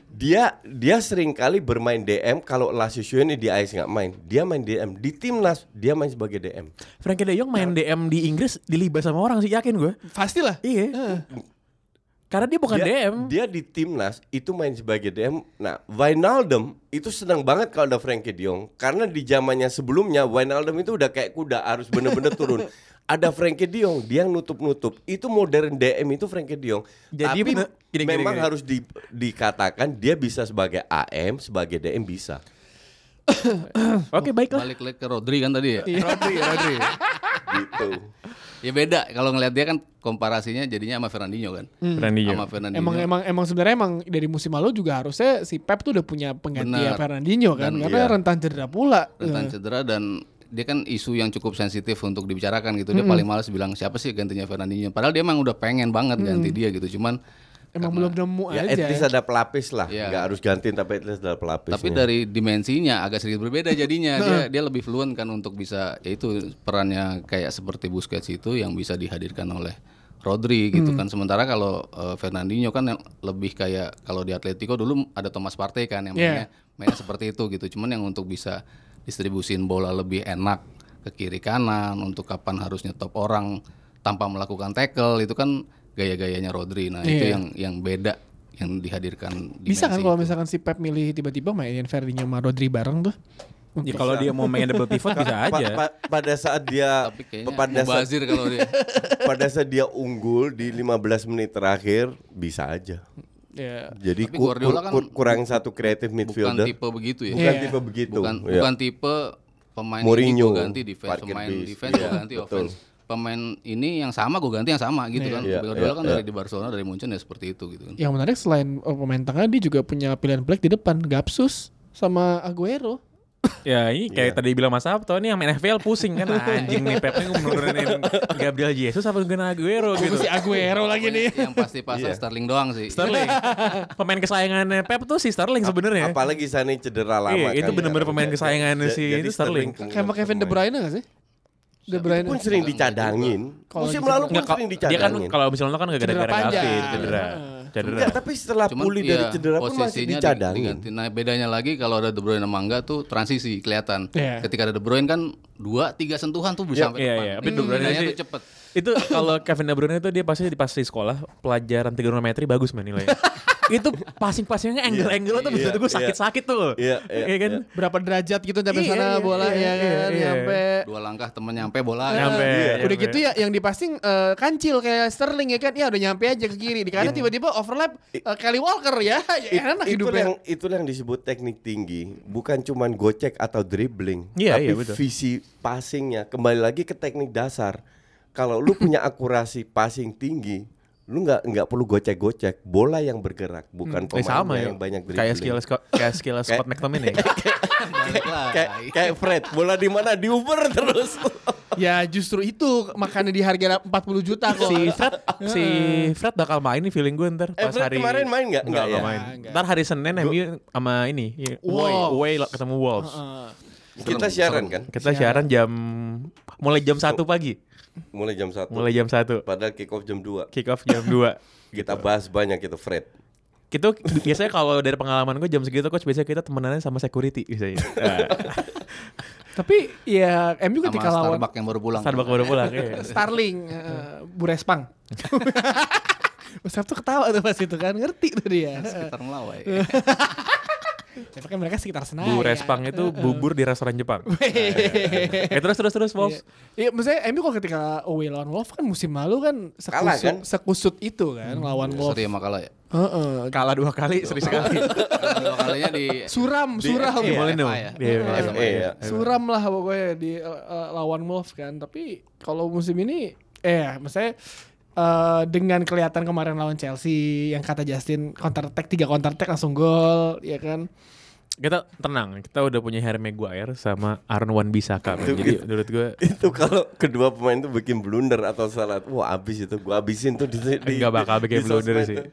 Speaker 3: Dia dia sering kali bermain DM kalau Lazio ini di AS nggak main. Dia main DM di timnas, dia main sebagai DM.
Speaker 2: Frankie De Jong main DM di Inggris dilibas sama orang sih yakin gue.
Speaker 1: Pastilah.
Speaker 2: Iya. Karena dia bukan
Speaker 3: dia,
Speaker 2: DM.
Speaker 3: Dia di timnas itu main sebagai DM. Nah, Wijnaldum itu senang banget kalau ada Frankie De Jong karena di zamannya sebelumnya Wijnaldum itu udah kayak kuda harus bener-bener turun. Ada Frankie De Jong, dia yang nutup-nutup. Itu modern DM itu Frankie De Jong.
Speaker 2: Jadi
Speaker 3: Tapi
Speaker 2: bener- gini, gini,
Speaker 3: memang
Speaker 2: gini.
Speaker 3: harus di- dikatakan dia bisa sebagai AM, sebagai DM bisa.
Speaker 2: Oke baiklah.
Speaker 4: Balik lagi ke Rodri kan tadi ya.
Speaker 3: Iya.
Speaker 4: Rodri, Rodri.
Speaker 3: Gitu.
Speaker 4: Ya beda kalau ngelihat dia kan komparasinya jadinya sama Fernandinho kan.
Speaker 2: Frankie De Jong.
Speaker 4: Sama Fernandinho.
Speaker 1: Emang emang emang sebenarnya emang dari musim lalu juga harusnya si Pep tuh udah punya pengganti
Speaker 4: Benar.
Speaker 1: Fernandinho kan
Speaker 4: Dan
Speaker 1: karena
Speaker 3: iya.
Speaker 1: rentan cedera pula. Eh,
Speaker 4: rentan cedera dan dia kan isu yang cukup sensitif untuk dibicarakan gitu. Dia paling malas bilang siapa sih gantinya Fernandinho. Padahal dia emang udah pengen banget ganti dia gitu. Cuman
Speaker 1: Emang belum nemu
Speaker 3: Ya at
Speaker 1: aja.
Speaker 3: least ada pelapis lah
Speaker 4: Iya.
Speaker 3: Nggak harus gantiin tapi at least ada pelapis
Speaker 4: tapi dari dimensinya agak sedikit berbeda jadinya. dia dia lebih fluent kan untuk bisa yaitu perannya kayak seperti Busquets itu yang bisa dihadirkan oleh Rodri gitu
Speaker 1: Hmm.
Speaker 4: kan. Sementara kalau eh, Fernandinho kan yang lebih kayak kalau di Atletico dulu ada Thomas Partey kan yang
Speaker 1: Yeah.
Speaker 4: mainnya mainnya seperti itu gitu. Cuman yang untuk bisa distribusin bola lebih enak ke kiri kanan untuk kapan harus nyetop orang tanpa melakukan tackle itu kan gaya-gayanya Rodri. Nah, itu
Speaker 1: Iya.
Speaker 4: yang yang beda yang dihadirkan
Speaker 1: Bisa kan
Speaker 4: dimensi
Speaker 1: kalau
Speaker 4: itu.
Speaker 1: misalkan si Pep milih tiba-tiba mainin Ferdinand sama Rodri bareng tuh.
Speaker 2: Ya, kalau dia mau main double pivot bisa
Speaker 3: Pa-
Speaker 2: aja.
Speaker 3: pa- pada saat dia
Speaker 4: tapi kayaknya
Speaker 3: pada saat,
Speaker 4: mubazir kalau dia
Speaker 3: pada saat dia unggul di 15 menit terakhir bisa aja.
Speaker 1: Ya.
Speaker 3: Jadi
Speaker 4: Tapi
Speaker 3: ku- ku-
Speaker 4: Guardiola kan
Speaker 3: ku- kurang satu kreatif
Speaker 4: bukan
Speaker 3: midfielder.
Speaker 4: tipe begitu ya
Speaker 3: Bukan
Speaker 1: Iya.
Speaker 3: tipe begitu.
Speaker 4: bukan
Speaker 3: Ya.
Speaker 4: bukan tipe pemain ini
Speaker 3: Mourinho,
Speaker 4: gue ganti defense
Speaker 3: target
Speaker 4: pemain
Speaker 3: beast.
Speaker 4: defense
Speaker 3: Iya,
Speaker 4: gue ganti
Speaker 3: betul.
Speaker 4: offense pemain ini yang sama gue ganti yang sama gitu kan
Speaker 3: Iya,
Speaker 4: Guardiola
Speaker 3: iya,
Speaker 4: kan
Speaker 3: iya.
Speaker 4: dari di Barcelona dari Munchen ya seperti itu gitu kan
Speaker 1: Yang menarik selain uh, pemain tengah dia juga punya pilihan black di depan Gapsus sama Aguero.
Speaker 2: Ya ini kayak
Speaker 3: Iya.
Speaker 2: tadi bilang Mas Sabto ini yang main FPL pusing kan anjing nih Pep nih menurunin Gabriel Jesus apa Gunnar Aguero gitu.
Speaker 1: Fokus si Aguero lagi nih.
Speaker 4: yang pasti pasang
Speaker 3: Iya.
Speaker 4: Sterling doang sih Iya.
Speaker 2: Sterling. Pemain kesayangannya Pep tuh si Sterling sebenarnya.
Speaker 3: Apalagi sana cedera lama
Speaker 2: Iya,
Speaker 3: kan.
Speaker 2: itu bener-bener
Speaker 3: sekarang.
Speaker 2: pemain
Speaker 3: Ja-
Speaker 2: kesayangannya
Speaker 3: ja-
Speaker 2: si
Speaker 3: jadi
Speaker 2: itu Sterling.
Speaker 3: kemungkinan
Speaker 1: Kayak sama Kevin De
Speaker 3: pemain.
Speaker 1: Bruyne gak sih? De Bruyne.
Speaker 3: Pun sering dicadangin.
Speaker 1: Kalau
Speaker 3: Musim
Speaker 1: gitu-
Speaker 3: lalu pun
Speaker 2: Nggak, kalau-
Speaker 3: sering
Speaker 2: dia kan
Speaker 3: dicadangin.
Speaker 2: kalau misalnya kan gak gara-gara
Speaker 1: Cedera panjang.
Speaker 2: Covid cedera. Cedera.
Speaker 3: Nggak, tapi setelah pulih dari
Speaker 4: iya,
Speaker 3: cedera pun masih
Speaker 4: posisinya di-
Speaker 3: dicadangin.
Speaker 4: diganti. Nah bedanya lagi kalau ada De Bruyne sama enggak tuh transisi kelihatan.
Speaker 1: Iya.
Speaker 4: Ketika ada De Bruyne kan dua tiga sentuhan tuh bisa sampai
Speaker 2: Iya
Speaker 4: depan.
Speaker 2: iya, tapi De Bruyne
Speaker 4: Pindahnya
Speaker 2: sih-
Speaker 4: tuh cepet.
Speaker 2: Itu kalau Kevin De Bruyne itu dia pasti di pas di sekolah pelajaran trigonometri bagus man nilainya. itu passing-passingnya angle-angle tuh
Speaker 3: iya,
Speaker 2: menurut gue
Speaker 3: iya.
Speaker 2: sakit-sakit tuh.
Speaker 3: Iya, iya,
Speaker 2: kan?
Speaker 1: Berapa derajat gitu sampai
Speaker 2: Iya,
Speaker 1: sana
Speaker 2: iya,
Speaker 1: bola
Speaker 2: iya,
Speaker 1: ya
Speaker 2: iya,
Speaker 1: kan
Speaker 2: iya.
Speaker 1: nyampe
Speaker 4: Dua langkah temen nyampe bola.
Speaker 2: Nyampe.
Speaker 1: Iya.
Speaker 2: nyampe.
Speaker 1: Udah gitu ya yang dipasing eh, kancil kayak Sterling ya kan. Ya udah nyampe aja ke kiri. Di kanan tiba-tiba overlap eh, Kelly Walker ya. ya
Speaker 3: It-
Speaker 1: enak
Speaker 3: itu
Speaker 1: hidupnya.
Speaker 3: yang itu yang disebut teknik tinggi, bukan cuman gocek atau dribbling,
Speaker 2: Iya,
Speaker 3: tapi
Speaker 2: iya, betul.
Speaker 3: visi passingnya. Kembali lagi ke teknik dasar. Kalau lu punya akurasi passing tinggi, lu nggak nggak perlu gocek-gocek bola yang bergerak bukan
Speaker 2: Eh,
Speaker 3: pemain
Speaker 2: sama ya.
Speaker 3: yang banyak
Speaker 2: Kayak
Speaker 3: dribbling.
Speaker 2: skill Scott, kayak skill Scott McTominay.
Speaker 4: Balik lagi.
Speaker 3: kayak kayak Fred bola di mana di Uber terus
Speaker 1: Ya justru itu makanya di harga 40 juta kok.
Speaker 2: si Fred, si Fred bakal main nih feeling gue ntar
Speaker 3: eh
Speaker 2: pas
Speaker 3: Fred
Speaker 2: hari
Speaker 3: kemarin main nggak
Speaker 2: Enggak,
Speaker 3: nggak ya
Speaker 2: enggak main.
Speaker 1: Ah, enggak.
Speaker 2: Ntar hari Senin MU sama ini ya, Away,
Speaker 1: Wolves.
Speaker 2: away lah, ketemu Wolves.
Speaker 1: Heeh.
Speaker 3: kita siaran kan
Speaker 2: Kita siaran jam mulai jam 1 pagi.
Speaker 3: mulai jam satu
Speaker 2: Mulai jam 1.
Speaker 3: padahal kick off jam 2
Speaker 2: Kick off jam 2.
Speaker 3: kita bahas banyak itu Fred
Speaker 2: Itu biasanya kalau dari pengalaman gue jam segitu coach biasanya kita temenannya sama security biasanya.
Speaker 3: Nah,
Speaker 1: Tapi ya MU
Speaker 4: sama
Speaker 1: ketika lawan
Speaker 4: Starbucks yang baru pulang.
Speaker 2: Starbucks baru pulang. iya.
Speaker 1: Starling, eh, Burespang. Mas Sabtu ketawa tuh pas itu kan, ngerti tuh dia.
Speaker 4: Sekitar Melawai.
Speaker 2: Eh,
Speaker 1: Tapi kan mereka sekitar Senayan.
Speaker 2: Bu Respang itu bubur di restoran Jepang.
Speaker 1: Hehehe.
Speaker 2: eh terus terus terus Wolves.
Speaker 1: Iya, Iya, maksudnya MU kalau ketika away lawan Wolves kan musim lalu kan sekusut,
Speaker 3: Kalah kan?
Speaker 1: sekusut itu
Speaker 2: Hmm,
Speaker 1: kan lawan Wolves.
Speaker 4: Sorry ya makalah ya.
Speaker 1: Heeh.
Speaker 2: iya, Kalah dua kali, seri sekali.
Speaker 4: Dua kalinya di
Speaker 1: Suram,
Speaker 3: Di-
Speaker 1: suram.
Speaker 2: Di
Speaker 4: Iya,
Speaker 2: Molino.
Speaker 4: FA ya.
Speaker 2: Di FA.
Speaker 3: Eh, iya.
Speaker 1: Suram lah pokoknya di eh, eh, lawan Wolves kan. Tapi kalau musim ini eh maksudnya eh, dengan kelihatan kemarin lawan Chelsea yang kata Justin counter attack tiga counter attack langsung gol ya kan.
Speaker 2: Kita tenang, kita udah punya Harry Maguire sama Aaron Wan Bisaka.
Speaker 3: Itu
Speaker 2: Jadi
Speaker 3: gitu.
Speaker 2: menurut gue
Speaker 3: itu kalau kedua pemain tuh bikin blunder atau salah wah abis itu gua abisin tuh di, di
Speaker 2: Nggak bakal bikin blunder
Speaker 3: sosmed
Speaker 2: sih.
Speaker 3: tuh.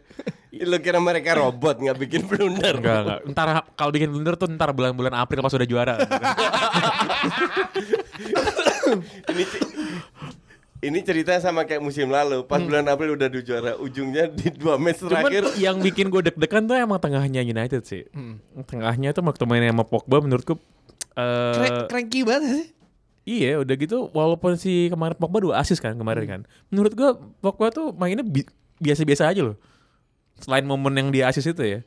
Speaker 3: Ih, lu kira mereka robot nggak bikin blunder
Speaker 2: Enggak, enggak. Ntar kalau bikin blunder tuh ntar bulan-bulan April pas udah juara.
Speaker 3: ini ce- ini ceritanya sama kayak musim lalu pas bulan April udah di juara ujungnya di dua match
Speaker 2: Cuman
Speaker 3: terakhir
Speaker 2: yang bikin gue deg-degan tuh emang tengahnya United sih. Tengahnya tuh waktu mainnya sama Pogba menurutku
Speaker 1: Kre-
Speaker 2: eh
Speaker 1: cranky banget sih.
Speaker 2: iya udah gitu walaupun si kemarin Pogba dua asis kan kemarin kan. Menurut gue Pogba tuh mainnya bi- biasa-biasa aja loh. Selain momen yang dia asis itu ya.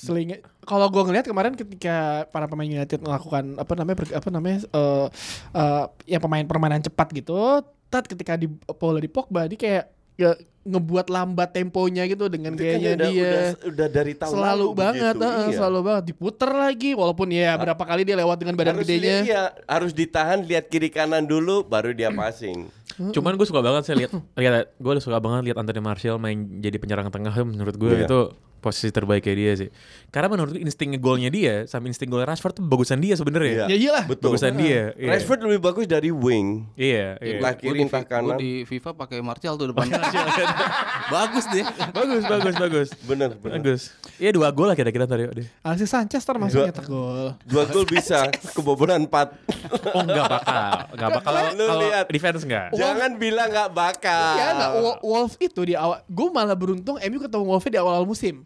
Speaker 1: Selingnya. Kalau gue ngelihat kemarin ketika para pemain United melakukan apa namanya berge- apa namanya eh, eh, ya pemain permainan cepat gitu, tat ketika di bola di Pogba dia kayak ya, ngebuat lambat temponya gitu dengan
Speaker 3: Itu kan
Speaker 1: gayanya
Speaker 3: udah,
Speaker 1: dia.
Speaker 3: udah, udah dari tahun
Speaker 1: selalu
Speaker 3: lalu
Speaker 1: banget,
Speaker 3: begitu,
Speaker 1: heeh,
Speaker 3: iya.
Speaker 1: selalu banget diputer lagi walaupun ya berapa kali dia lewat dengan badan
Speaker 3: harus
Speaker 1: gedenya.
Speaker 3: lihat- iya, harus ditahan lihat kiri kanan dulu baru dia passing
Speaker 2: Cuman gue suka banget sih lihat lihat gue suka banget lihat Anthony Martial main jadi penyerang tengah tuh menurut gue
Speaker 3: Iya.
Speaker 2: itu posisi terbaiknya dia sih. Karena menurut gue insting golnya dia sama insting gol Rashford tuh bagusan dia
Speaker 1: Ya
Speaker 2: sebenarnya.
Speaker 1: iyalah.
Speaker 3: Iya. betul
Speaker 2: Bagusan dia. iya.
Speaker 3: Rashford lebih bagus dari wing
Speaker 2: Iya, iya.
Speaker 3: Entah kiri entah
Speaker 4: Gue
Speaker 3: kanan
Speaker 4: di FIFA pakai Martial tuh depan. Bagus deh.
Speaker 2: Bagus, bagus, bagus.
Speaker 3: bener Iya. bener
Speaker 2: Bagus. Iya dua gol lah kira-kira tadi. deh.
Speaker 1: Alexis Sanchez ntar masuk
Speaker 3: Dua-
Speaker 1: nyetak gol.
Speaker 3: dua gol bisa kebobolan empat
Speaker 1: Nah.
Speaker 2: Oh enggak bakal. Enggak bakal kalau
Speaker 3: Lu
Speaker 2: kalau
Speaker 3: lihat. Iya,
Speaker 2: defense enggak.
Speaker 3: jangan bilang nggak bakal
Speaker 1: Iya, nah, Wo- Wolf itu di awal gue malah beruntung MU ketemu Wolf di awal-awal musim.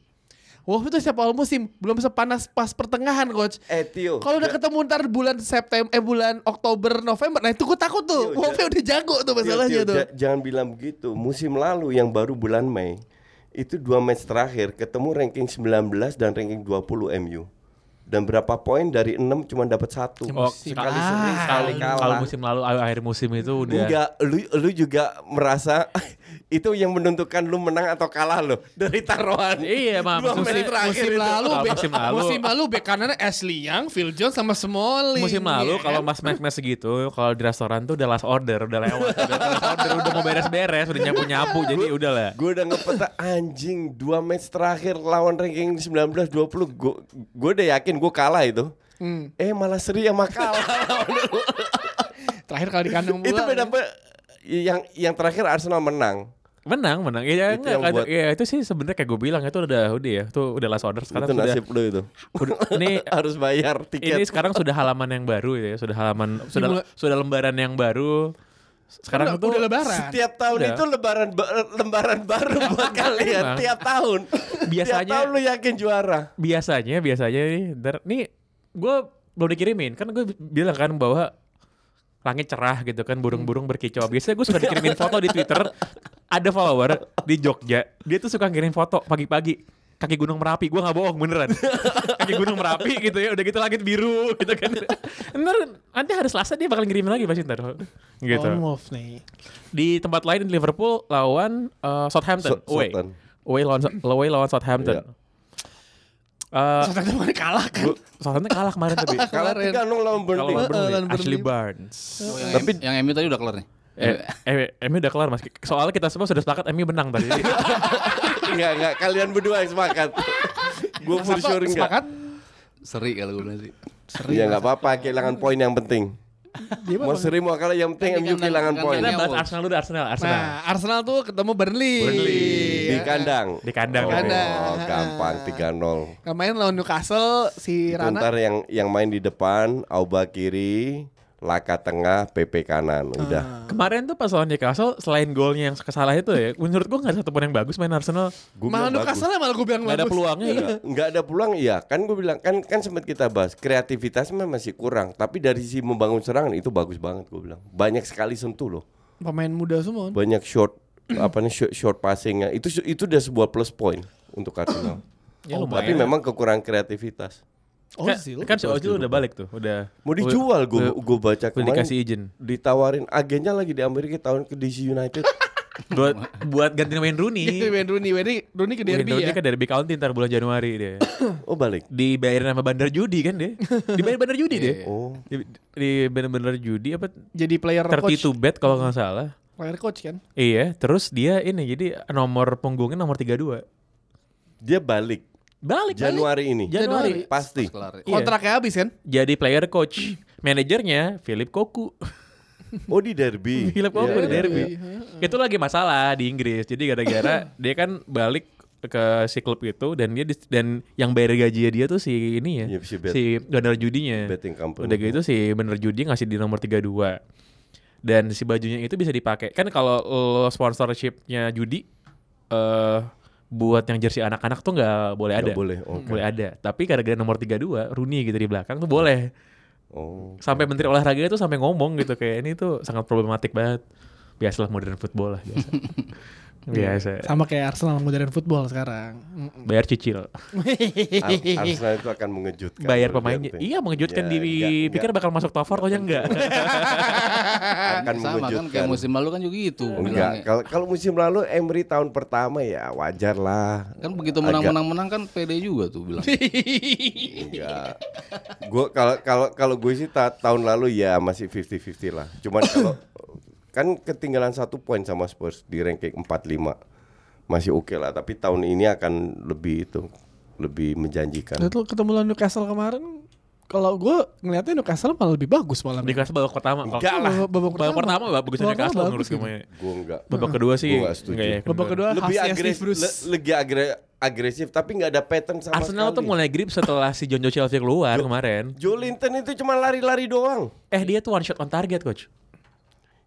Speaker 1: Wolf itu siapa awal musim, belum sepanas pas pertengahan coach.
Speaker 3: eh Tio
Speaker 1: Kalau udah ketemu ntar bulan September eh bulan Oktober November, nah itu gue takut tuh.
Speaker 3: Iya,
Speaker 1: Wolfnya udah jago tuh
Speaker 3: Tio,
Speaker 1: masalahnya
Speaker 3: Tio,
Speaker 1: tuh.
Speaker 3: ja- jangan bilang begitu musim lalu yang baru bulan Mei itu dua match terakhir ketemu ranking 19 dan ranking 20 MU dan berapa poin dari 6 cuma dapat satu
Speaker 2: Oh,
Speaker 3: sekali
Speaker 2: ah.
Speaker 3: seri sekali kalah
Speaker 2: Kalau musim lalu akhir musim itu udah
Speaker 3: Enggak, lu lu juga merasa itu yang menentukan lu menang atau kalah lo dari taruhan.
Speaker 2: Iya, Mam.
Speaker 3: Dua
Speaker 2: Musim-
Speaker 3: menit terakhir
Speaker 1: Musim
Speaker 3: itu.
Speaker 1: lalu,
Speaker 2: Kalau
Speaker 1: bek-
Speaker 2: musim lalu.
Speaker 1: musim lalu bek kanannya Ashley Young, Phil Jones sama Smalling.
Speaker 2: musim lalu
Speaker 1: ya
Speaker 2: kalau
Speaker 1: kan?
Speaker 2: mas mes mes segitu kalau di restoran tuh udah last order udah lewat udah last order udah mau beres beres udah nyapu nyapu jadi ya udah lah
Speaker 3: Gue udah ngepeta anjing dua match terakhir lawan ranking 19 20 gue gue udah yakin gue kalah itu.
Speaker 1: Hmm.
Speaker 3: Eh malah seri sama kalah.
Speaker 1: terakhir kali di kandang
Speaker 3: itu
Speaker 1: bola,
Speaker 3: beda
Speaker 1: ya.
Speaker 3: apa? Yang yang terakhir Arsenal menang.
Speaker 2: menang menang ya,
Speaker 3: Itu
Speaker 2: enggak,
Speaker 3: yang
Speaker 2: kata-
Speaker 3: buat-
Speaker 2: ya, itu sih sebenarnya kayak gue bilang itu udah udah ya itu udah last order sekarang
Speaker 3: itu
Speaker 2: sudah
Speaker 3: nasib lu itu.
Speaker 2: udah- ini
Speaker 3: Harus bayar tiket.
Speaker 2: ini sekarang sudah halaman yang baru ya sudah halaman sudah
Speaker 1: Dimulai-
Speaker 2: sudah lembaran yang baru sekarang
Speaker 1: udah,
Speaker 2: tuh
Speaker 1: udah lebaran.
Speaker 3: Setiap tahun
Speaker 2: Udah.
Speaker 3: itu lebaran ba- lembaran baru buat kalian.
Speaker 2: Emang.
Speaker 3: Tiap tahun. Tiap
Speaker 2: Biasanya-
Speaker 3: tahun lu yakin juara.
Speaker 2: biasanya biasanya nih ntar, nih gue belum dikirimin kan gue bilang kan bahwa langit cerah gitu kan burung-burung berkicau biasanya gue suka dikirimin foto di twitter ada follower di Jogja dia tuh suka ngirim foto pagi-pagi kaki gunung merapi gue nggak bohong beneran kaki gunung merapi gitu ya udah gitu langit biru gitu kan ntar nanti hari selasa dia bakal ngirim lagi pasti ntar gitu
Speaker 3: Oh.
Speaker 1: Lawan Wolf nih.
Speaker 2: di tempat lain di Liverpool lawan eh, Southampton
Speaker 3: So-
Speaker 2: away
Speaker 3: Southampton.
Speaker 2: away lawan away lawan Southampton
Speaker 3: Iya.
Speaker 2: Eh,
Speaker 1: Soalnya kemarin kalah kan.
Speaker 2: Southampton kalah kemarin tapi
Speaker 1: Kalah
Speaker 3: Kalah
Speaker 1: kemarin.
Speaker 3: tiga nol
Speaker 2: kalau
Speaker 3: lawan Burnley.
Speaker 1: Burnley.
Speaker 2: Burnley,
Speaker 1: Burnley.
Speaker 2: Ashley Barnes
Speaker 4: Oh, yang
Speaker 3: Tapi-
Speaker 4: yang MU tadi udah kelar nih.
Speaker 2: Eh, eh, Emi udah kelar mas. Soalnya kita semua sudah sepakat Emi menang tadi.
Speaker 3: Enggak, enggak. Kalian berdua yang sepakat. gue for
Speaker 1: Apa,
Speaker 3: sure enggak.
Speaker 1: Sepakat?
Speaker 4: Seri kalau gue bilang sih.
Speaker 3: Ya enggak apa-apa, kehilangan poin yang penting.
Speaker 1: Dia apa?
Speaker 3: Mau seri mau kalah yang penting
Speaker 4: Tapi
Speaker 3: MU
Speaker 4: kan-
Speaker 3: kehilangan
Speaker 4: kan-
Speaker 3: poin
Speaker 2: Kita
Speaker 4: kan-
Speaker 2: bahas Arsenal dulu Arsenal. Arsenal.
Speaker 1: Nah, Arsenal tuh ketemu Burnley.
Speaker 2: Burnley.
Speaker 3: di
Speaker 1: Ya.
Speaker 3: kandang.
Speaker 2: Di kandang.
Speaker 3: Oh,
Speaker 1: Kandang.
Speaker 3: gampang 3-0.
Speaker 1: Kemarin lawan Newcastle si
Speaker 3: Itu
Speaker 1: Rana
Speaker 3: ntar yang yang main di depan, Auba kiri, Laka tengah, PP kanan. Udah.
Speaker 1: Ah.
Speaker 2: Kemarin tuh pas lawan Newcastle selain golnya yang kesalah itu ya, menurut gua nggak ada satu pun yang bagus main Arsenal.
Speaker 1: malah
Speaker 3: Gua bilang bagus.
Speaker 1: Newcastle ya malah gue bilang
Speaker 2: Nggak ada
Speaker 1: bagus.
Speaker 2: peluangnya. Iya.
Speaker 3: nggak ada peluang iya kan gue bilang kan kan sempat kita bahas kreativitas memang masih kurang tapi dari sisi membangun serangan itu bagus banget gue bilang banyak sekali sentuh loh
Speaker 1: Pemain muda semua.
Speaker 3: banyak short apa nih short, short passingnya itu itu udah sebuah plus point untuk Arsenal
Speaker 2: Ya, lumayan.
Speaker 3: tapi memang kekurangan kreativitas
Speaker 2: Kan,
Speaker 1: Ozil.
Speaker 2: kan si Ozil udah balik tuh, udah.
Speaker 3: mau dijual gue gue baca
Speaker 2: Udah
Speaker 3: kemarin
Speaker 2: dikasih izin.
Speaker 3: ditawarin agennya lagi di Amerika tahun ke DC United
Speaker 2: Buat buat gantiin Wayne Rooney.
Speaker 1: Jadi Wayne Iya, Rooney, Wayne Rooney ke
Speaker 2: Wayne
Speaker 1: derby
Speaker 2: Rooney
Speaker 1: ya.
Speaker 2: kan dari Big County ntar bulan Januari dia.
Speaker 3: oh balik
Speaker 2: Dibayarin sama bandar judi kan dia. Dibayarin bandar judi dia.
Speaker 3: oh
Speaker 2: Di, di bener-bener judi apa
Speaker 1: Jadi player coach.
Speaker 2: 32 bet kalau nggak salah.
Speaker 1: Player coach kan.
Speaker 2: Iya, terus dia ini jadi nomor punggungnya nomor 32.
Speaker 3: dia balik
Speaker 2: Balik balik.
Speaker 3: Januari ini
Speaker 2: Januari.
Speaker 1: Januari.
Speaker 3: pasti
Speaker 4: Kelar. Eh,
Speaker 2: Iya.
Speaker 1: Kontraknya habis kan?
Speaker 2: Jadi player coach. Manajernya Philip Koku.
Speaker 3: oh di derby
Speaker 2: Philip Koku
Speaker 3: Iya,
Speaker 2: di
Speaker 3: iya,
Speaker 2: derby.
Speaker 3: iya.
Speaker 2: Itu lagi masalah di Inggris. Jadi gara-gara dia kan balik ke si klub itu dan dia dis- dan yang bayar gaji dia tuh si ini ya.
Speaker 3: Iya, si bet.
Speaker 2: si bener judinya.
Speaker 3: iya. betting company
Speaker 2: Udah gitu si bener judi ngasih di nomor 32. Dan si bajunya itu bisa dipakai. Kan kalau lo sponsorshipnya judi eh buat yang jersey anak-anak tuh nggak boleh ada.
Speaker 3: Nggak boleh, oke.
Speaker 2: Boleh ada. Tapi gara-gara nomor 32 Rooney gitu di belakang tuh boleh.
Speaker 3: oh
Speaker 2: Sampai menteri olahraga itu sampai ngomong gitu kayak ini tuh sangat problematik banget. Biasalah modern football lah biasa.
Speaker 3: Iya.
Speaker 2: biasa.
Speaker 1: Sama kayak Arsenal modern football sekarang.
Speaker 2: Bayar cicil.
Speaker 3: Ar- Arsenal itu akan mengejutkan.
Speaker 2: Bayar
Speaker 3: menurut
Speaker 2: pemainnya.
Speaker 3: Dante.
Speaker 2: Iya mengejutkan
Speaker 3: Ya,
Speaker 2: dipikir
Speaker 3: enggak, enggak.
Speaker 2: bakal masuk top 4 taunya enggak.
Speaker 3: akan
Speaker 4: Sama kan
Speaker 3: mengejutkan.
Speaker 4: kayak musim lalu kan juga gitu.
Speaker 3: Enggak,
Speaker 4: bilangnya.
Speaker 3: kalau kalau musim lalu Emery tahun pertama ya wajar lah.
Speaker 4: Kan begitu
Speaker 3: Agak-
Speaker 4: menang-menang-menang kan PD juga tuh bilang.
Speaker 3: Enggak. Gua kalau kalau kalau gue sih ta- tahun lalu ya masih 50-50 lah. Cuman kalau kan ketinggalan satu poin sama Spurs di ranking 45. Masih oke lah, tapi tahun ini akan lebih itu lebih menjanjikan.
Speaker 1: Lihat lu ketemu lawan Newcastle kemarin kalau gue ngeliatnya Newcastle malah lebih bagus malam.
Speaker 2: Newcastle babak pertama. Kalau-
Speaker 3: Enggak lah.
Speaker 1: Babak
Speaker 2: Babak pertama bagus
Speaker 1: Babak
Speaker 2: Newcastle
Speaker 1: pertama bagus
Speaker 2: menurut
Speaker 1: gitu.
Speaker 2: gue.
Speaker 3: Gue enggak.
Speaker 2: Babak kedua sih
Speaker 3: Gua nggak setuju.
Speaker 2: enggak ya,
Speaker 1: Babak kedua
Speaker 3: lebih
Speaker 1: khasnya Steve
Speaker 3: agresif,
Speaker 1: Bruce.
Speaker 3: le- legi agre- agresif tapi nggak ada pattern sama
Speaker 2: Arsenal tuh
Speaker 3: sekali.
Speaker 2: mulai grip setelah si Jonjo Chelsea keluar kemarin.
Speaker 3: Jolinton itu cuma lari-lari doang.
Speaker 2: Eh dia tuh one shot on target coach.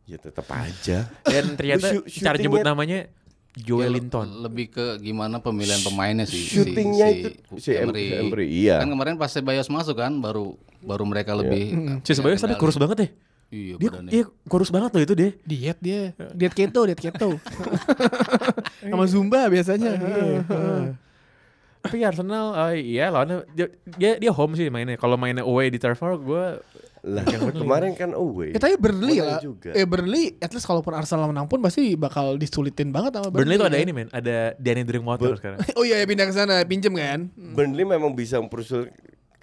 Speaker 3: Ya tetap aja.
Speaker 2: Dan ternyata
Speaker 3: Lu shoot-
Speaker 2: cara nyebut
Speaker 3: shootingnya-
Speaker 2: namanya
Speaker 4: Ya,
Speaker 2: Joel Linton.
Speaker 4: Lebih ke gimana pemilihan pemainnya sih. si-
Speaker 3: Shootingnya
Speaker 4: si,
Speaker 3: itu si Em-
Speaker 4: Emery.
Speaker 3: si Emery, iya.
Speaker 4: Kan kemarin pas Sebayos masuk kan baru baru mereka lebih.
Speaker 2: Hmm. Si
Speaker 1: Iya,
Speaker 2: Sebayos tapi kurus banget deh.
Speaker 4: Iya
Speaker 2: Dia,
Speaker 4: badannya.
Speaker 2: dia kurus banget loh itu deh.
Speaker 1: Diet dia, diet keto, diet keto. Sama Zumba biasanya.
Speaker 3: Ah,
Speaker 1: Iya.
Speaker 3: iya.
Speaker 2: Tapi Arsenal eh, iya lawannya dia, dia dia home sih mainnya. Kalau mainnya away di Turf Moor gue
Speaker 3: Lah, kemarin kan away.
Speaker 1: Ya tapi Burnley lah.
Speaker 3: Menang juga.
Speaker 1: Eh Burnley at least kalaupun Arsenal menang pun pasti bakal disulitin banget sama Burnley.
Speaker 2: Burnley
Speaker 1: Ya.
Speaker 2: tuh ada ini men, ada Danny Drinkwater sekarang.
Speaker 1: Oh iya ya pindah ke sana, pinjem kan.
Speaker 3: Burnley memang bisa mempersulit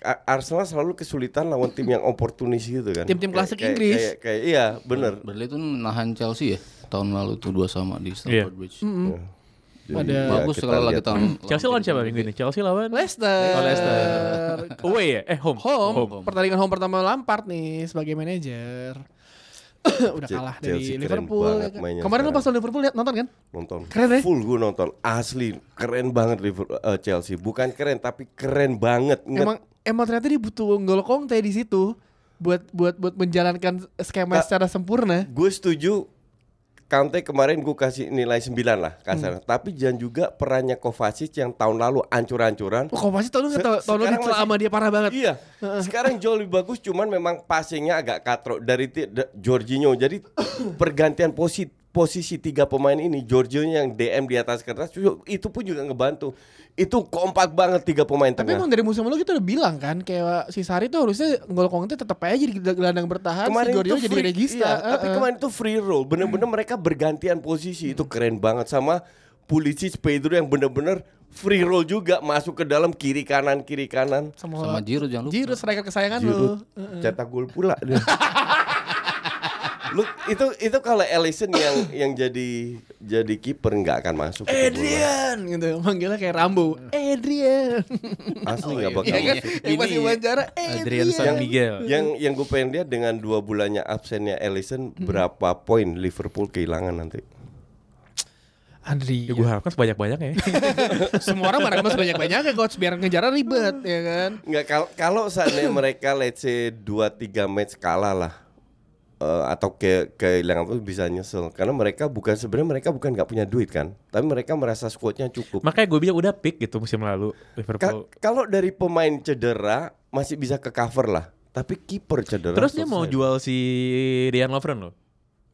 Speaker 3: A- Arsenal selalu kesulitan lawan tim yang oportunis gitu kan.
Speaker 1: Tim-tim
Speaker 3: Kayak-
Speaker 1: klasik
Speaker 3: kayak-
Speaker 1: Inggris.
Speaker 3: Kayak, kayak- iya, bener.
Speaker 4: Burnley itu nahan Chelsea ya tahun lalu tuh dua sama di
Speaker 2: Iya.
Speaker 4: Stamford Bridge.
Speaker 3: Jadi,
Speaker 1: Ada-
Speaker 3: ya,
Speaker 4: Bagus
Speaker 3: kita
Speaker 4: sekali lagi
Speaker 3: lihat.
Speaker 4: tahun.
Speaker 2: Chelsea lawan siapa minggu ini? Chelsea lawan
Speaker 1: Leicester.
Speaker 2: Oh, Leicester. away ya? Eh home.
Speaker 1: Home,
Speaker 2: home.
Speaker 1: pertandingan home pertama Lampard nih sebagai manajer. Udah
Speaker 3: Je-
Speaker 1: kalah
Speaker 3: Chelsea
Speaker 1: dari
Speaker 3: keren
Speaker 1: Liverpool. ya
Speaker 3: banget
Speaker 1: kan?
Speaker 3: mainnya
Speaker 1: Kemarin lo
Speaker 3: sekarang.
Speaker 1: pas lawan Liverpool lihat nonton kan?
Speaker 3: Nonton.
Speaker 1: Keren ya?
Speaker 3: Full gue nonton. Asli keren banget Liverpool eh, Chelsea. Bukan keren tapi keren banget. Nge-
Speaker 1: Emang emang ternyata dia butuh N'Golo Conte di situ buat buat buat menjalankan skema
Speaker 3: Ta-
Speaker 1: secara sempurna.
Speaker 3: gue setuju Kante kemarin gue kasih nilai 9 lah kasar.
Speaker 1: Hmm.
Speaker 3: Tapi jangan juga perannya Kovacic yang tahun lalu ancur-ancuran.
Speaker 1: Oh, kok pasti tahun
Speaker 3: Se-
Speaker 1: lalu tahun lalu
Speaker 3: sekarang
Speaker 1: dicela
Speaker 3: masih-
Speaker 1: sama dia parah banget.
Speaker 3: Iya. Sekarang jauh lebih bagus cuman memang passingnya agak katrok dari ti- da- Jorginho. Jadi pergantian posisi posisi tiga pemain ini Jorginho yang DM di atas kertas ju- itu pun juga ngebantu. Itu kompak banget tiga pemain
Speaker 1: Tapi emang
Speaker 3: tengah.
Speaker 1: dari musim lalu kita udah bilang kan kayak si Sari tuh harusnya N'Golo Conte tetap aja jadi gelandang bertahan,
Speaker 3: kemarin
Speaker 1: si Jorginho
Speaker 3: itu
Speaker 1: jadi
Speaker 3: free-
Speaker 1: regista.
Speaker 3: iya, tapi kemarin itu free roll bener-bener mereka bergantian posisi itu keren banget sama Pulisic Pedro yang bener-bener free roll juga masuk ke dalam kiri kanan kiri kanan
Speaker 1: sama,
Speaker 4: Sama Giroud jangan lupa.
Speaker 1: Anu, Giroud striker kesayangan
Speaker 3: Giroud
Speaker 1: lu.
Speaker 3: cetak gol pula dia. Lu itu itu kalau Ellison yang yang jadi jadi kiper nggak akan masuk. itu bola.
Speaker 1: Adrian gitu manggilnya kayak Rambo Adrian
Speaker 3: Asli nggak bakal.
Speaker 1: Iya kan
Speaker 3: masuk.
Speaker 1: yang pasti
Speaker 2: Ini-
Speaker 1: wawancara
Speaker 2: Adrian
Speaker 1: Adrian
Speaker 2: San Miguel.
Speaker 3: Yang yang gue pengen lihat dengan dua bulannya absennya Ellison
Speaker 1: Hmm.
Speaker 3: berapa poin Liverpool kehilangan nanti.
Speaker 2: Ya
Speaker 1: Adrian
Speaker 2: gue Iya, harapkan sebanyak-banyaknya ya.
Speaker 1: semua orang marah sebanyak banyaknya ya, coach biar ngejar ribet ya kan
Speaker 3: Nggak kalau kalau seandainya mereka let's say 2 3 match kalah lah eh, atau ke kehilangan tuh bisa nyesel karena mereka bukan sebenarnya mereka bukan nggak punya duit kan, tapi mereka merasa squadnya cukup.
Speaker 2: Makanya gue bilang udah pick gitu musim lalu
Speaker 3: Ka-
Speaker 2: Liverpool.
Speaker 3: kalau dari pemain cedera masih bisa ke cover lah, tapi kiper cedera.
Speaker 2: Terus dia mau
Speaker 3: selesai.
Speaker 2: jual si Dejan Lovren loh.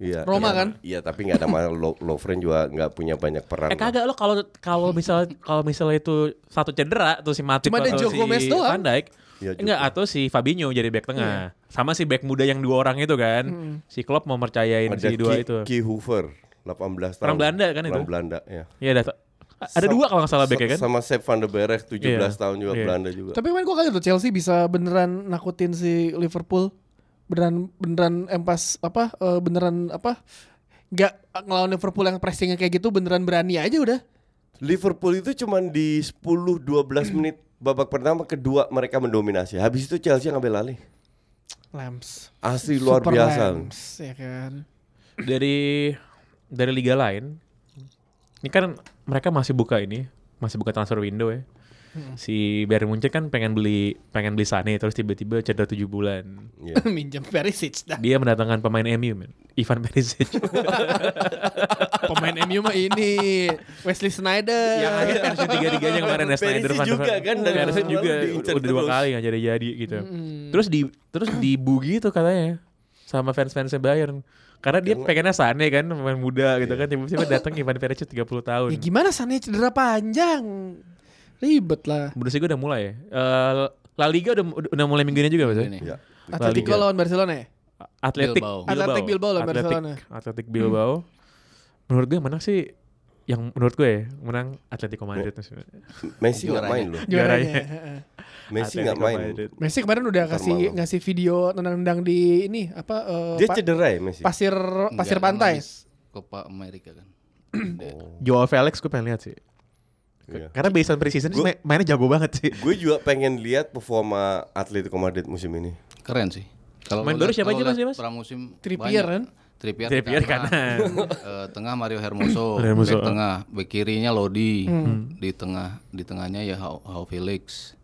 Speaker 3: Iya,
Speaker 1: Roma
Speaker 3: iya,
Speaker 1: kan?
Speaker 3: Iya, tapi nggak ada masalah. Lo- Lovren juga nggak punya banyak peran.
Speaker 2: Eh kagak lo kalau kalau misal kalau misalnya itu satu cedera tuh si Matip
Speaker 1: Cuma ada
Speaker 2: atau
Speaker 1: Joe
Speaker 2: si
Speaker 1: Gomez doang.
Speaker 2: Van Dijk.
Speaker 3: Iya, Joe
Speaker 2: enggak
Speaker 3: Gomez.
Speaker 2: atau si Fabinho jadi back tengah. Sama si back muda yang dua orang itu kan. Si Klopp mau mercayain
Speaker 3: Ada
Speaker 2: si dua
Speaker 3: Ki-
Speaker 2: itu.
Speaker 3: Ki Hoover, 18 tahun.
Speaker 2: Orang Belanda kan itu?
Speaker 3: Orang Belanda, ya.
Speaker 2: Iya ada ada
Speaker 3: Sam-
Speaker 2: dua kalau nggak salah back ya
Speaker 3: sa-
Speaker 2: kan.
Speaker 3: Sama Sepp van der Berg 17
Speaker 2: Iya.
Speaker 3: tahun juga
Speaker 2: Iya.
Speaker 3: Belanda juga.
Speaker 1: Tapi main gue kaget tuh Chelsea bisa beneran nakutin si Liverpool beneran beneran empas apa eh, beneran apa nggak ngelawan Liverpool yang pressingnya kayak gitu beneran berani aja udah
Speaker 3: Liverpool itu cuman di 10 12 menit babak pertama kedua mereka mendominasi. Habis itu Chelsea ngambil alih.
Speaker 1: Lams
Speaker 3: Asli luar
Speaker 1: Super
Speaker 3: biasa.
Speaker 1: Lams, ya kan
Speaker 2: Dari dari liga lain. Ini kan mereka masih buka ini, masih buka transfer window ya.
Speaker 3: Hmm.
Speaker 2: Si Bayern Munchen kan pengen beli pengen beli Sane terus tiba-tiba cedera 7 bulan.
Speaker 3: Iya.
Speaker 1: minjem Perisic dah
Speaker 2: Dia mendatangkan pemain MU, men. Ivan Perisic.
Speaker 3: Iya.
Speaker 1: pemain MU mah ini Wesley Ya Snyder
Speaker 2: yang lagi pensiun tiga-tiganya kemarin ya
Speaker 3: Perisic
Speaker 2: Snyder
Speaker 3: juga kan, dari
Speaker 2: Perisic
Speaker 3: tahun
Speaker 2: juga
Speaker 3: lalu diincar
Speaker 2: udah dua
Speaker 3: terus. Hmm.
Speaker 2: kali nggak jadi-jadi gitu terus di terus dibugi tuh katanya sama fans-fansnya Bayern karena dia pengennya Sane kan pemain muda gitu kan
Speaker 3: Iya.
Speaker 2: tiba-tiba datang Ivan Perisic 30 tahun
Speaker 1: ya gimana Sane cedera panjang ribet lah
Speaker 2: menurut saya gue udah mulai ya Eh, La Liga udah udah mulai minggu ini juga ya? maksudnya
Speaker 4: Ini.
Speaker 3: Iya.
Speaker 1: Atletico
Speaker 2: Liga.
Speaker 1: lawan Barcelona ya
Speaker 2: Atletik
Speaker 4: Bilbao.
Speaker 1: Athletic Bilbao lawan
Speaker 2: Atletik-
Speaker 1: Barcelona.
Speaker 2: Atletik Bilbao menurut gue menang sih yang menurut gue ya menang Atletico Madrid
Speaker 3: Messi nggak main loh.
Speaker 2: Juaranya.
Speaker 1: Juaranya.
Speaker 2: Atletico
Speaker 3: Messi nggak main.
Speaker 2: Madrid.
Speaker 1: Messi kemarin udah
Speaker 3: Ntar
Speaker 1: kasih
Speaker 3: malam.
Speaker 1: ngasih video nendang-nendang di ini apa eh,
Speaker 3: Dia
Speaker 1: pa-
Speaker 3: cedera ya
Speaker 4: Iya.
Speaker 3: Messi.
Speaker 1: pasir pasir
Speaker 4: Enggak,
Speaker 1: pantai.
Speaker 4: habis Copa America kan.
Speaker 2: Joao Felix gue pengen lihat sih
Speaker 3: Oh, Iya.
Speaker 2: Karena based on preseason sih
Speaker 3: Gua-
Speaker 2: main- mainnya jago banget sih.
Speaker 3: Gue juga pengen lihat performa Atletico Madrid musim ini.
Speaker 4: Keren sih. Kalau
Speaker 2: Main
Speaker 4: lu
Speaker 2: baru
Speaker 4: lihat-
Speaker 2: siapa
Speaker 4: kalau
Speaker 2: aja, Mas, ya,
Speaker 4: lihat
Speaker 2: Mas?
Speaker 4: Pramusim
Speaker 1: Trippier,
Speaker 4: banyak.
Speaker 1: kan?
Speaker 4: Trippier,
Speaker 2: Trippier
Speaker 4: Eh, tengah Mario Hermoso,
Speaker 2: Mario Hermoso. ah.
Speaker 4: back tengah, back kirinya Lodi,
Speaker 1: Hmm.
Speaker 4: di tengah di tengahnya ya Hao, Hao Felix.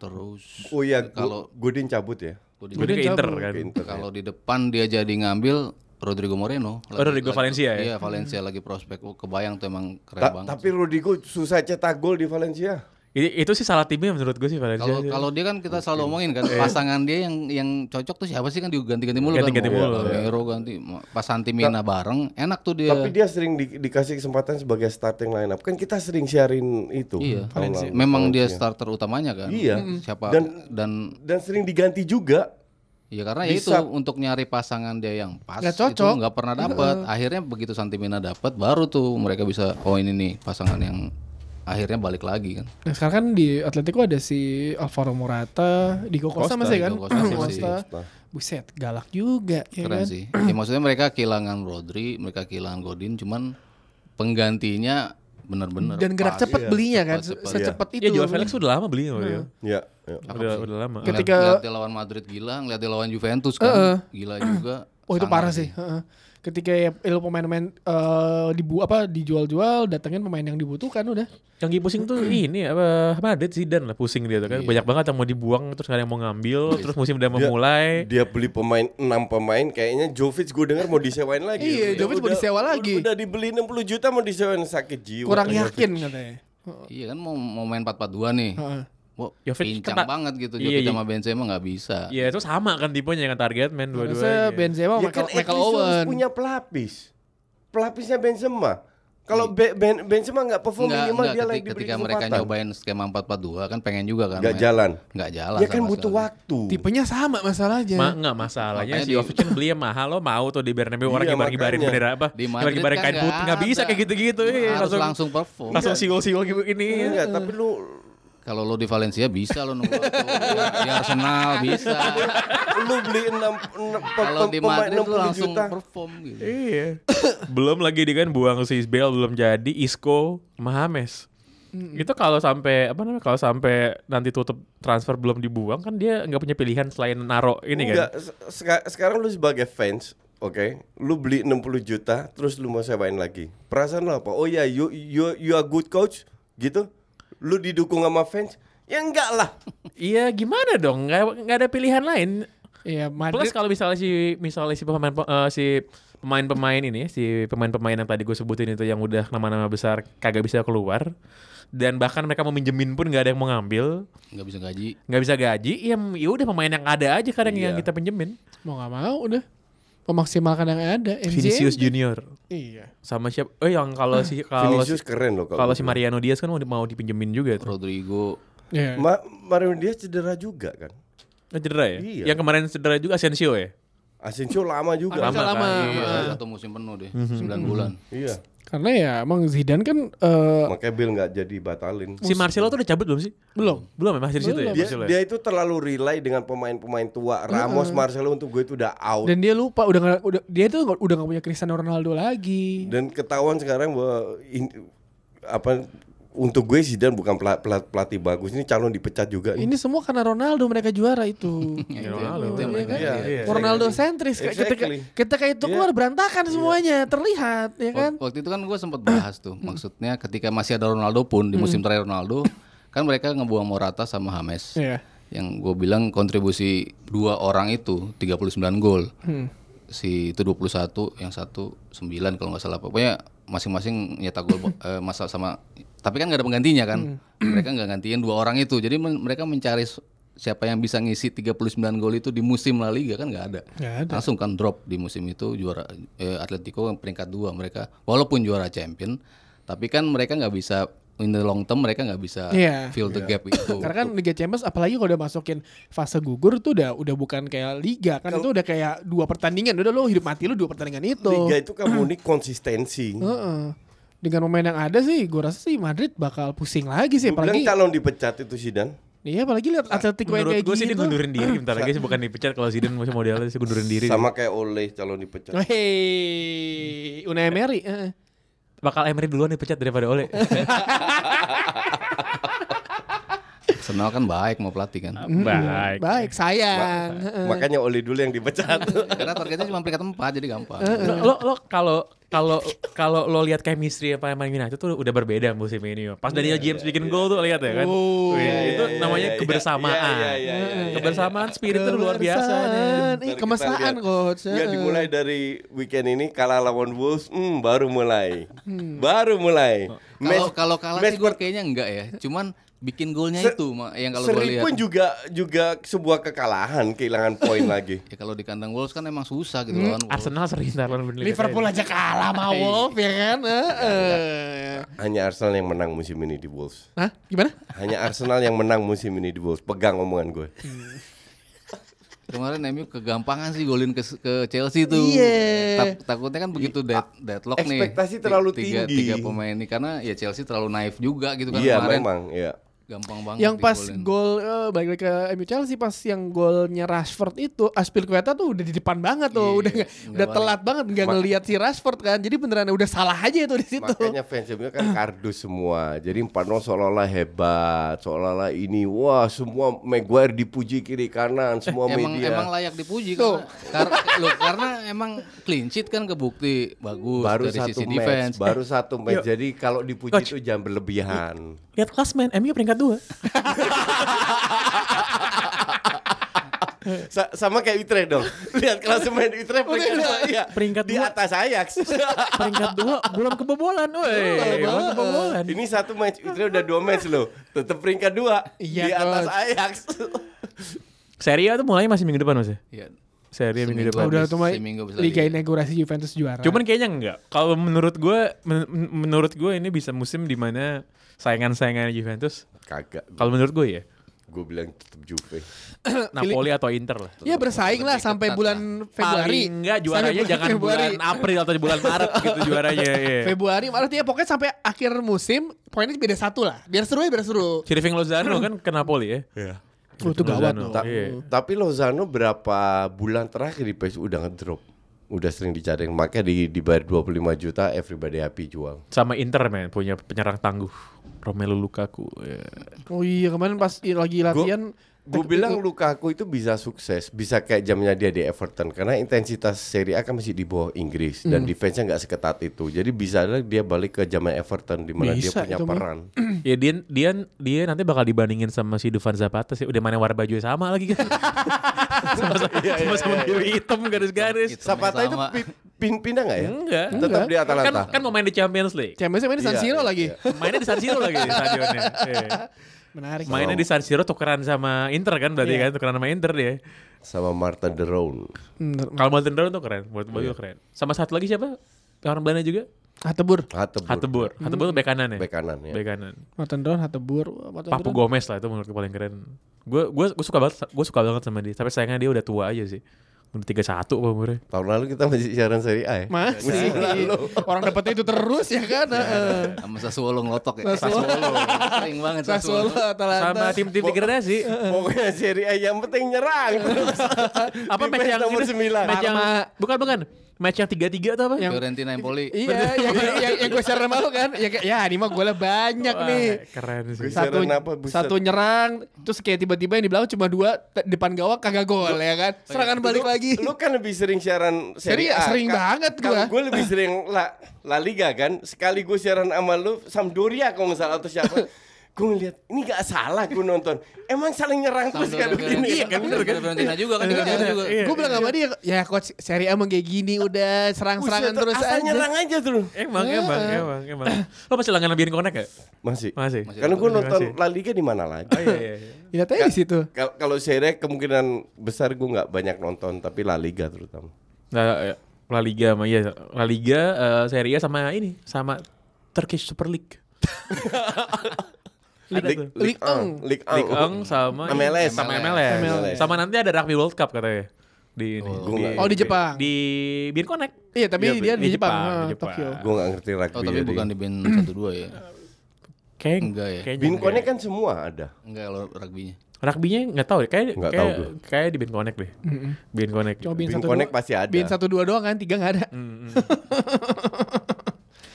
Speaker 4: Terus
Speaker 3: Oh iya,
Speaker 4: kalau
Speaker 3: Gu- Godin cabut ya.
Speaker 4: kalau di-
Speaker 2: Gue ke Inter kan.
Speaker 3: Ke Inter.
Speaker 4: Gitu. kalau di depan dia jadi ngambil Rodrigo Moreno.
Speaker 2: Rodrigo Valencia ya?
Speaker 4: Iya, Valencia lagi prospek. Oh, kebayang tuh emang keren
Speaker 3: Ta-
Speaker 4: banget.
Speaker 3: tapi Rodrigo susah cetak gol di Valencia.
Speaker 2: Jadi itu sih salah timnya menurut gue sih Valencia.
Speaker 4: Kalau kalau dia kan kita selalu omongin kan pasangan dia yang yang cocok tuh siapa sih kan diganti-ganti mulu
Speaker 2: Ganti-ganti
Speaker 4: kan. Mau
Speaker 2: mulu,
Speaker 4: Romero ganti mau- pas Santi Mina bareng enak tuh dia.
Speaker 3: Tapi dia sering di- dikasih kesempatan sebagai starting lineup. Kan kita sering siarin itu.
Speaker 4: iya.
Speaker 3: tahun lalu,
Speaker 4: Memang dia
Speaker 3: Valencia.
Speaker 4: starter utamanya kan.
Speaker 3: Iya.
Speaker 4: Siapa dan,
Speaker 3: Dan- dan sering diganti juga.
Speaker 4: ya karena ya itu
Speaker 3: Bisa.
Speaker 4: untuk nyari pasangan dia yang pas
Speaker 1: Nggak
Speaker 4: itu
Speaker 1: cocok.
Speaker 4: nggak pernah dapat. Akhirnya begitu Santi Mina dapat baru tuh mereka bisa oh ini nih pasangan yang akhirnya balik lagi kan.
Speaker 1: Nah, sekarang kan di Atletico ada si Alvaro Morata, Diego Costa
Speaker 3: Costa,
Speaker 1: masih kan?
Speaker 4: Diego Costa masih.
Speaker 1: Buset, galak juga ya
Speaker 4: Keren
Speaker 1: kan?
Speaker 4: sih. Ya maksudnya mereka kehilangan Rodri, mereka kehilangan Godin, cuman penggantinya benar-benar
Speaker 1: Dan gerak
Speaker 4: pas. Iya.
Speaker 1: cepet belinya kan,
Speaker 4: Cepat-cepat.
Speaker 1: secepat itu. Hmm.
Speaker 2: ya Joao Felix udah lama beli sama dia.
Speaker 3: Ya, ya.
Speaker 2: Udah udah lama.
Speaker 1: Ket-
Speaker 4: Ngeliat-
Speaker 1: Ketika-
Speaker 4: ngeliat dia lawan Madrid gila, ngeliat dia lawan Juventus kan gila juga.
Speaker 1: Oh itu
Speaker 4: Sangar
Speaker 1: parah sih. heeh. Ketika ya lo pemain-pemain eh, dibu apa dijual-jual, datengin pemain yang dibutuhkan udah.
Speaker 2: Yang lagi pusing tuh ini apa Madrid Zidane lah pusing dia tuh kan. Banyak banget yang mau dibuang terus gak ada yang mau ngambil, terus musim udah memulai.
Speaker 3: Iya. Dia beli pemain 6 pemain kayaknya Jovic gue dengar mau disewain lagi.
Speaker 1: Iya,
Speaker 3: Ya
Speaker 1: Jovic mau
Speaker 3: udah-
Speaker 1: disewa lagi.
Speaker 3: Udah dibeli 60 juta mau disewain sakit jiwa.
Speaker 1: Kurang
Speaker 3: Jovic.
Speaker 1: yakin katanya.
Speaker 4: Iya kan mau mau main 4-4-2 nih.
Speaker 1: Heeh.
Speaker 4: Wah,
Speaker 2: Jovic
Speaker 4: pincang
Speaker 2: kena-
Speaker 4: banget gitu.
Speaker 2: Iya,
Speaker 4: Jovic
Speaker 2: iya.
Speaker 4: sama Benzema nggak bisa.
Speaker 2: Ya itu sama kan tipenya kan target main
Speaker 1: Harusnya
Speaker 4: iya.
Speaker 2: dua-duanya.
Speaker 4: Oh,
Speaker 1: Benzema
Speaker 3: Ya
Speaker 1: Michael,
Speaker 3: kan
Speaker 1: Michael
Speaker 3: at least harus
Speaker 1: Owen.
Speaker 3: punya pelapis. Pelapisnya Benzema. Kalau Be- Ben- Benzema nggak perform
Speaker 4: Enggak,
Speaker 3: minimal
Speaker 4: enggak,
Speaker 3: dia lagi
Speaker 4: ketika,
Speaker 3: diberi
Speaker 4: ketika mereka
Speaker 3: kesempatan.
Speaker 4: nyobain skema 4-4-2 kan pengen juga kan.
Speaker 3: Nggak
Speaker 4: main.
Speaker 3: jalan.
Speaker 4: Nggak jalan.
Speaker 1: Iya
Speaker 3: Dia kan
Speaker 4: sama
Speaker 3: butuh
Speaker 4: sekali.
Speaker 3: waktu.
Speaker 1: Tipenya sama masalahnya.
Speaker 2: Ma enggak masalahnya
Speaker 4: Makanya
Speaker 2: si
Speaker 4: di-
Speaker 2: Jovic kan beli yang mahal lo mau tuh di Bernabeu orang
Speaker 3: Iya,
Speaker 2: ngibar-ngibarin
Speaker 3: makanya.
Speaker 2: bendera apa?
Speaker 4: Di Madrid
Speaker 2: Ngibar-ngibarin
Speaker 4: kan
Speaker 2: kain
Speaker 4: nggak
Speaker 2: putih nggak bisa
Speaker 4: ada.
Speaker 2: kayak gitu-gitu. iya.
Speaker 4: Harus langsung perform.
Speaker 2: langsung siul-siul kayak begini.
Speaker 3: Iya, tapi lu
Speaker 4: Kalau lo di Valencia bisa lo nunggu waktu. di Arsenal bisa.
Speaker 3: lu beli 6
Speaker 4: Kalau di Madrid lo langsung
Speaker 3: juta.
Speaker 4: perform gitu.
Speaker 1: Iya.
Speaker 2: belum lagi dia kan buang si Isbel belum jadi Isco Mahames itu kalau sampai apa namanya kalau sampai nanti tutup transfer belum dibuang kan dia nggak punya pilihan selain naro ini
Speaker 3: Enggak,
Speaker 2: kan
Speaker 3: se- seka- sekarang lu sebagai fans, oke, lu beli 60 juta, terus lu mau sewain lagi. Perasaan lu apa? Oh ya, you you you are good coach, gitu. Lu didukung sama fans? Ya enggak lah.
Speaker 2: iya gimana dong nggak nggak ada pilihan lain
Speaker 1: Iya, Madrid.
Speaker 2: plus kalau misalnya si misalnya si pemain eh, si pemain-pemain ini si pemain-pemain yang tadi gue sebutin itu yang udah nama-nama besar kagak bisa keluar dan bahkan mereka mau minjemin pun nggak ada yang mau ngambil
Speaker 4: Nggak bisa gaji.
Speaker 2: nggak bisa gaji ya ya udah pemain yang ada aja kadang yang
Speaker 3: Iya.
Speaker 2: kita pinjemin
Speaker 1: mau nggak mau udah memaksimalkan yang ada. MJ.
Speaker 2: Vinicius Junior
Speaker 1: Iya.
Speaker 2: sama siapa? Eh yang kalau si kalau si,
Speaker 3: Vinicius keren loh
Speaker 2: kalau
Speaker 3: kalau.
Speaker 2: si Mariano Diaz kan mau di- mau dipinjemin juga tuh.
Speaker 4: Rodrigo.
Speaker 1: Iya.
Speaker 3: Ma Mario dia cedera juga kan.
Speaker 2: Eh, cedera ya?
Speaker 3: Iya.
Speaker 2: Yang kemarin cedera juga Asensio ya?
Speaker 3: Asensio lama juga.
Speaker 2: Lama.
Speaker 1: Agak lama.
Speaker 2: kan?
Speaker 4: Iya,
Speaker 1: Iya.
Speaker 4: satu musim penuh deh. 9 bulan.
Speaker 3: Iya.
Speaker 1: Karena ya emang Zidane kan eh,
Speaker 3: Makanya Bill nggak jadi batalin.
Speaker 2: Si Marcelo tuh udah cabut belum sih?
Speaker 1: belum.
Speaker 2: Belum ya masih di situ ya
Speaker 3: Dia,
Speaker 2: Marcelo. ya?
Speaker 3: dia itu terlalu rely dengan pemain-pemain tua. Ramos, Marcelo untuk gue itu udah out.
Speaker 1: Dan dia lupa udah nggak- udah dia tuh nggak- udah nggak punya Cristiano Ronaldo lagi.
Speaker 3: dan ketahuan sekarang bahwa in- apa untuk gue Zidane bukan pela- pela- pelatih bagus ini calon dipecat juga nih.
Speaker 1: Ini semua karena Ronaldo mereka juara itu.
Speaker 2: Iya,
Speaker 4: Ya, itu yang-
Speaker 2: Ronaldo.
Speaker 4: itu yang
Speaker 1: Iya
Speaker 4: mereka
Speaker 1: kan?
Speaker 4: lihat.
Speaker 3: Iya.
Speaker 1: Ronaldo sentris Kayak ketika
Speaker 3: Exactly. Iya.
Speaker 1: ketika itu keluar berantakan semuanya terlihat ya kan.
Speaker 4: Wak- Waktu itu kan gue sempat bahas tuh, maksudnya ketika masih ada Ronaldo pun di musim terakhir Ronaldo, kan mereka ngebuang Morata sama Hames.
Speaker 1: Iya.
Speaker 4: Yang gue bilang kontribusi dua orang itu 39 gol.
Speaker 1: Hmm.
Speaker 4: Si itu 21, yang satu 9 kalau nggak salah. Pokoknya masing-masing nyetak gol eh, masa sama tapi kan nggak ada penggantinya
Speaker 1: Hmm.
Speaker 4: kan. Mereka nggak gantiin dua orang itu. Jadi men- mereka mencari s- siapa yang bisa ngisi 39 gol itu di musim La Liga kan nggak ada
Speaker 1: Nggak ada.
Speaker 4: langsung kan drop di musim itu juara eh, Atletico yang peringkat dua mereka walaupun juara champion tapi kan mereka nggak bisa in the long term mereka nggak bisa
Speaker 1: Iya.
Speaker 4: fill the gap itu
Speaker 1: Karena kan Liga Champions apalagi kalau udah masukin fase gugur tuh udah udah bukan kayak liga kan itu udah kayak dua pertandingan udah lo hidup mati lo dua pertandingan itu.
Speaker 3: liga itu kan murni konsistensi
Speaker 1: Heeh. Dengan pemain yang ada sih gue rasa sih Madrid bakal pusing lagi sih
Speaker 3: Gue bilang
Speaker 1: apalagi
Speaker 3: calon dipecat itu Zidane
Speaker 1: iya apalagi lihat Atletico yang
Speaker 2: Menurut
Speaker 1: kayak
Speaker 2: gue sih dia
Speaker 1: gitu.
Speaker 2: gundurin diri bentar lagi sih bukan dipecat kalau Zidane masih modelnya sih gundurin diri.
Speaker 3: sama kayak Oleh calon dipecat
Speaker 1: Hei, Unai Emery. heeh.
Speaker 2: Bakal Emery duluan dipecat daripada Ole.
Speaker 4: Arsenal kan baik mau pelatih kan
Speaker 1: Hmm.
Speaker 2: Baik.
Speaker 1: Baik, sayang. Heeh.
Speaker 3: makanya Oleh dulu yang dipecat
Speaker 4: karena targetnya cuma peringkat empat jadi gampang
Speaker 2: Lo lo- lo kalau kalau kalau lo lihat chemistry apa yang main United tuh udah berbeda musim ini. Pas Daniel James bikin gol tuh lihat ya kan.
Speaker 1: Oh,
Speaker 2: Wih,
Speaker 1: iya,
Speaker 2: itu namanya
Speaker 3: Iya, iya,
Speaker 2: kebersamaan.
Speaker 3: iya, iya,
Speaker 1: Eh,
Speaker 3: iya, iya.
Speaker 2: kebersamaan spirit itu luar biasa.
Speaker 1: Kebersamaan. Ih,
Speaker 3: Ntar kita
Speaker 1: kemesraan
Speaker 3: lihat. Iya,
Speaker 1: coach. eh.
Speaker 3: Nggak
Speaker 1: Heeh.
Speaker 3: dimulai dari weekend ini kalah lawan Wolves hmm, baru mulai
Speaker 1: Hmm.
Speaker 3: baru mulai
Speaker 4: kalau
Speaker 3: Match-
Speaker 4: kalau kalah
Speaker 3: match
Speaker 4: sih gue kayaknya enggak ya cuman bikin golnya
Speaker 3: Se-
Speaker 4: itu Ma, yang kalau gue
Speaker 3: seri
Speaker 4: lihat
Speaker 3: pun juga juga sebuah kekalahan kehilangan poin lagi
Speaker 4: ya kalau di kandang Wolves kan emang susah gitu
Speaker 3: Hmm.
Speaker 4: lawan Wolves.
Speaker 2: Arsenal sering taruhan bener
Speaker 1: Liverpool aja kalah sama Wolf ya kan. Heeh.
Speaker 3: hanya Arsenal yang menang musim ini di Wolves
Speaker 1: Hah? Gimana?
Speaker 3: Hanya Arsenal yang menang musim ini di Wolves. Pegang omongan gue.
Speaker 4: kemarin MU kegampangan sih golin ke, ke Chelsea tuh
Speaker 1: Iya.
Speaker 4: Tak- takutnya kan begitu dead, deadlock nih
Speaker 3: ekspektasi
Speaker 4: Ti-
Speaker 3: terlalu
Speaker 4: tiga,
Speaker 3: tinggi.
Speaker 4: tiga pemain ini karena ya Chelsea terlalu naif juga gitu kan
Speaker 3: Iya
Speaker 4: kemarin
Speaker 3: memang, iya.
Speaker 4: gampang banget
Speaker 1: yang pas
Speaker 4: digolin.
Speaker 1: gol eh, balik lagi ke MU Chelsea pas yang golnya Rashford itu Aspilicueta tuh udah di depan banget tuh
Speaker 4: Iya,
Speaker 1: udah nggak-
Speaker 4: nggak
Speaker 1: udah
Speaker 4: balik.
Speaker 1: telat banget nggak
Speaker 3: Ma-
Speaker 1: ngelihat si Rashford kan jadi beneran udah salah aja itu di situ
Speaker 3: Makanya fans MU kan kardus semua. Jadi 4-0 seolah-olah hebat, seolah-olah ini wah semua Maguire dipuji kiri kanan, semua
Speaker 4: emang
Speaker 3: media.
Speaker 4: emang layak dipuji
Speaker 1: Tuh.
Speaker 4: karena kar- loh, karena emang clean sheet kan kebukti bagus
Speaker 3: baru
Speaker 4: dari
Speaker 3: satu
Speaker 4: sisi
Speaker 3: match,
Speaker 4: defense
Speaker 3: baru satu match. Jadi kalau dipuji itu jangan berlebihan.
Speaker 2: Lihat klasmen, MU peringkat 2.
Speaker 3: Sa- sama kayak Utrecht dong. Lihat klasemen Utrecht peringkat dua, iya.
Speaker 2: Peringkat
Speaker 3: di
Speaker 2: dua.
Speaker 3: atas Ajax.
Speaker 2: peringkat 2 belum kebobolan, woi. Belum kebobolan.
Speaker 3: ini satu match Utrecht udah dua match loh. Tetap peringkat dua
Speaker 1: Iya,
Speaker 3: di atas
Speaker 1: coach.
Speaker 3: Ajax.
Speaker 2: Serie A tuh mulai masih minggu depan Mas ya?
Speaker 4: ya
Speaker 2: Serie A minggu
Speaker 4: Seminggu.
Speaker 2: depan.
Speaker 1: udah tuh main
Speaker 4: seminggu bisa
Speaker 1: liga
Speaker 4: lihat.
Speaker 1: inaugurasi Juventus juara
Speaker 2: Cuman kayaknya enggak. Kalau menurut gue men- men- menurut gue ini bisa musim di mana saingan-saingan Juventus
Speaker 3: Kagak.
Speaker 2: kalau menurut gue ya.
Speaker 3: gue bilang tetap Juve.
Speaker 2: Napoli atau Inter lah.
Speaker 1: Ya bersaing lah
Speaker 4: lebih
Speaker 1: sampai
Speaker 4: ketat
Speaker 1: bulan Februari.
Speaker 2: Paling enggak
Speaker 1: Sampai
Speaker 2: juaranya
Speaker 1: bulan
Speaker 2: jangan bulan April atau bulan Maret gitu juaranya. Iya.
Speaker 1: Februari, Maret ya pokoknya sampai akhir musim poinnya beda satu lah. Biar seru ya, biar seru.
Speaker 2: Chiriving Lozano kan ke Napoli ya. Iya.
Speaker 1: Oh, itu gawat
Speaker 2: Lozano,
Speaker 1: loh.
Speaker 3: Ta-
Speaker 2: iya.
Speaker 3: Tapi Lozano berapa bulan terakhir di PSG udah ngedrop. Udah sering dicariin makanya di dibayar 25 juta everybody happy jual.
Speaker 2: Sama Inter men punya penyerang tangguh. Romelu Lukaku. Iya.
Speaker 1: Oh iya kemarin pas i- lagi latihan eh,
Speaker 3: Gue bilang Lukaku itu bisa sukses, bisa kayak jamnya dia di Everton karena intensitas Serie A kan masih di bawah Inggris
Speaker 2: Hmm.
Speaker 3: dan defense-nya nggak seketat itu. Jadi bisa aja dia balik ke zaman Everton di mana dia
Speaker 1: Bisa
Speaker 3: punya
Speaker 1: itu, Bang.
Speaker 3: peran.
Speaker 2: Ya dia dia dia nanti bakal dibandingin sama si Dufan Zapata sih. Udah mana warna bajunya sama lagi kan. Sama-sama sama-sama biru hitam garis-garis.
Speaker 3: Zapata itu
Speaker 4: Sama.
Speaker 3: pi- pin pindah nggak ya?
Speaker 2: Enggak.
Speaker 3: Tetap di
Speaker 2: Kan
Speaker 3: Atalanta.
Speaker 2: kan mau main di Champions League.
Speaker 1: Champions ini San
Speaker 3: Iya,
Speaker 1: Siro
Speaker 3: iya,
Speaker 1: lagi.
Speaker 3: iya.
Speaker 2: Mainnya di San Siro lagi stadionnya. Iya.
Speaker 1: Menarik.
Speaker 2: Mainnya di San Siro tukeran sama Inter kan
Speaker 3: Iya.
Speaker 2: berarti kan tukeran sama Inter dia.
Speaker 3: Sama Marta Deron.
Speaker 1: Bener.
Speaker 2: Kalau Molten Dawn tuh keren, buat buat
Speaker 3: Iya.
Speaker 2: gue keren. Sama satu lagi siapa? Orang Belanda juga?
Speaker 1: Hatebur.
Speaker 3: Hatebur.
Speaker 2: Hatebur. Hatebur tuh bek kanan ya.
Speaker 3: Bek Hmm. kanan ya.
Speaker 2: Bek kanan.
Speaker 1: Martin Down, Hatebur. Martin
Speaker 2: Papu
Speaker 1: Down.
Speaker 2: Gomez lah itu menurut gue paling keren. Gue gue gue suka banget gue suka banget sama dia. Tapi sayangnya dia udah tua aja sih. Udah 31 apa umurnya.
Speaker 3: Tahun lalu kita masih siaran Serie A ya.
Speaker 1: Masih. Orang dapetnya itu terus ya kan. Heeh.
Speaker 4: Sama Sassuolo ngelotok ya.
Speaker 1: Sassuolo.
Speaker 4: Sering banget
Speaker 1: Sassuolo,
Speaker 4: Sassuolo.
Speaker 2: Sama
Speaker 1: Atalanta.
Speaker 2: tim-tim degradasi.
Speaker 3: Pokoknya Serie A yang penting nyerang.
Speaker 2: Apa match
Speaker 3: Di match
Speaker 2: yang
Speaker 3: nomor
Speaker 2: ini?
Speaker 3: sembilan.
Speaker 2: Match yang
Speaker 1: Parma.
Speaker 2: bukan bukan. Match yang 33 atau apa?
Speaker 1: Yang-
Speaker 4: Fiorentina Empoli.
Speaker 1: Iya, yang, yang, yang gue share sama lu kan. Ya, kayak, ya ini mah gue lah banyak
Speaker 2: Wah,
Speaker 1: nih.
Speaker 2: Keren sih.
Speaker 3: Bisa
Speaker 1: Satu,
Speaker 3: renang apa, buset.
Speaker 1: satu nyerang, terus kayak tiba-tiba yang di belakang cuma dua, te- depan gawang kagak gol ya kan. Serangan balik
Speaker 3: Lu-
Speaker 1: lagi.
Speaker 3: Lu kan lebih sering siaran
Speaker 1: Seri
Speaker 3: Serie
Speaker 1: A,
Speaker 3: A.
Speaker 1: sering banget gua.
Speaker 3: Gue lebih sering La, La Liga kan. Sekali gue siaran sama lu Sampdoria kalau nggak salah atau siapa. gue ngeliat ini gak salah gue nonton. Emang saling nyerang terus
Speaker 4: Sampdoria
Speaker 3: kan begini.
Speaker 1: Iya,
Speaker 4: Fiorentina. Fiorentina juga Iya, kan. Fiorentina juga.
Speaker 2: Iya,
Speaker 1: gue bilang sama dia, ya coach seri emang kayak gini udah
Speaker 3: Buset,
Speaker 1: serang-serangan terus
Speaker 3: asal
Speaker 1: aja.
Speaker 3: nyerang aja terus.
Speaker 2: Emang
Speaker 1: Iya.
Speaker 2: emang emang emang. Lo masih langganan Bean Connect gak?
Speaker 3: Masih.
Speaker 2: Masih.
Speaker 3: Karena gue nonton
Speaker 2: Masih.
Speaker 3: La Liga di mana lagi.
Speaker 2: Oh, iya, iya, iya.
Speaker 1: Ya tadi di situ.
Speaker 3: Kal- Kalau Serie A kemungkinan besar gue nggak banyak nonton tapi La Liga terutama.
Speaker 2: Nah, La Liga sama iya, La Liga, eh, Serie A sama ini, sama Turkish Super League. Ada tuh.
Speaker 1: Ligue
Speaker 3: Ang, Ligue Ang.
Speaker 2: Ligue Ang sama
Speaker 3: MLS.
Speaker 2: sama MLS.
Speaker 4: MLS.
Speaker 2: Sama nanti ada Rugby World Cup katanya di ini.
Speaker 3: Gua nggak-
Speaker 1: Oh di Jepang.
Speaker 2: Di Beer Connect.
Speaker 1: Iya tapi
Speaker 3: Iya,
Speaker 1: dia
Speaker 2: di
Speaker 1: di Jepang,
Speaker 2: Jepang,
Speaker 1: ah,
Speaker 2: di Jepang.
Speaker 1: Tokyo.
Speaker 3: Gue nggak ngerti rugby. ya,
Speaker 4: Oh tapi
Speaker 3: jadi.
Speaker 4: bukan di BIN 12 ya.
Speaker 2: Kayak
Speaker 4: Enggak ya.
Speaker 2: kayaknya
Speaker 3: Bin
Speaker 2: enggak.
Speaker 3: Connect kan semua ada.
Speaker 4: Enggak kalau rugby-nya.
Speaker 2: Rugby-nya enggak tahu deh. Kayak
Speaker 3: Nggak
Speaker 2: kayak,
Speaker 3: tahu
Speaker 2: kayak di Beer Connect deh. Beer Connect.
Speaker 1: Coba Bin
Speaker 3: Bin
Speaker 1: satu
Speaker 3: Connect
Speaker 1: dua.
Speaker 3: pasti ada.
Speaker 1: Bin satu dua doang kan, tiga nggak ada.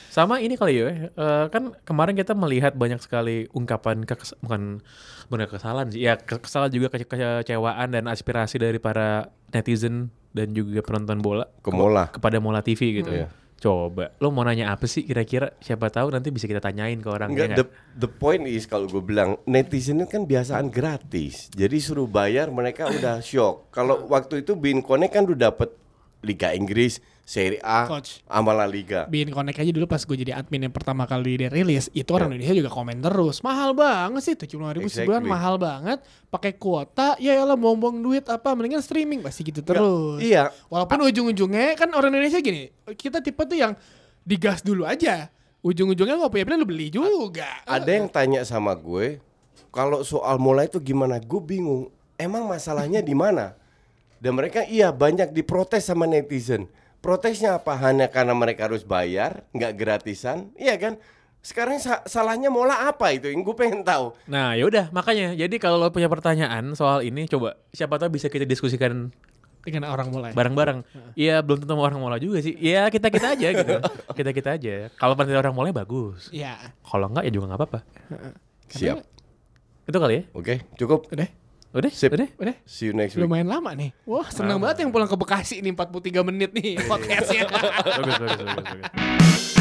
Speaker 2: Sama ini kali ya, eh, kan kemarin kita melihat banyak sekali ungkapan kekes bukan bukan kesalahan sih, ya ke- kesalahan juga kece- kecewaan dan aspirasi dari para netizen dan juga penonton bola
Speaker 3: Ke Mola.
Speaker 2: kepada Mola TV gitu.
Speaker 3: Iya.
Speaker 2: Coba, lo mau nanya apa sih kira-kira? Siapa tahu nanti bisa kita tanyain ke orang.
Speaker 3: Enggak,
Speaker 2: ya
Speaker 3: the, the point is kalau gue bilang netizen kan biasaan gratis. Jadi suruh bayar mereka udah shock. Kalau waktu itu Bin Connect kan udah dapet Liga Inggris, Serie A,
Speaker 1: Coach.
Speaker 3: sama La Liga.
Speaker 1: Bin Connect aja dulu pas gue jadi admin yang pertama kali dia rilis, itu orang Indonesia juga komen terus. Mahal banget sih, tujuh ribu sebulan
Speaker 3: Iya. Exactly.
Speaker 1: mahal banget. Pakai kuota, ya lah buang-buang duit apa, mendingan streaming pasti gitu terus.
Speaker 3: Iya.
Speaker 1: Walaupun ujung-ujungnya kan orang Indonesia gini, kita tipe tuh yang digas dulu aja. Ujung-ujungnya nggak punya pilihan lu beli juga.
Speaker 3: Ada yang tanya sama gue, kalau soal mulai itu gimana? Gue bingung. Emang masalahnya di mana? Dan mereka iya banyak diprotes sama netizen. Protesnya apa? Hanya karena mereka harus bayar, nggak gratisan, iya kan? Sekarang sa- salahnya mola apa itu? Yang gue pengen tahu.
Speaker 2: Nah, yaudah makanya. Jadi kalau lo punya pertanyaan soal ini, coba siapa tahu bisa kita diskusikan
Speaker 1: dengan orang mulai.
Speaker 2: bareng-bareng. Iya, belum tentu orang Mola juga sih. Iya, kita-kita aja gitu. Kita-kita aja. Kalau penonton orang Mola bagus.
Speaker 1: Iya.
Speaker 2: Kalau enggak ya juga nggak apa-apa.
Speaker 3: Siap.
Speaker 2: Itu kali ya.
Speaker 3: Oke, cukup.
Speaker 1: Udah,
Speaker 2: Udah,
Speaker 3: Sip.
Speaker 2: udah.
Speaker 1: udah.
Speaker 3: See you next week.
Speaker 1: Lumayan lama nih. Wah, senang banget yang pulang ke Bekasi nih 43 menit nih podcastnya.
Speaker 2: Bagus, bagus, bagus, bagus.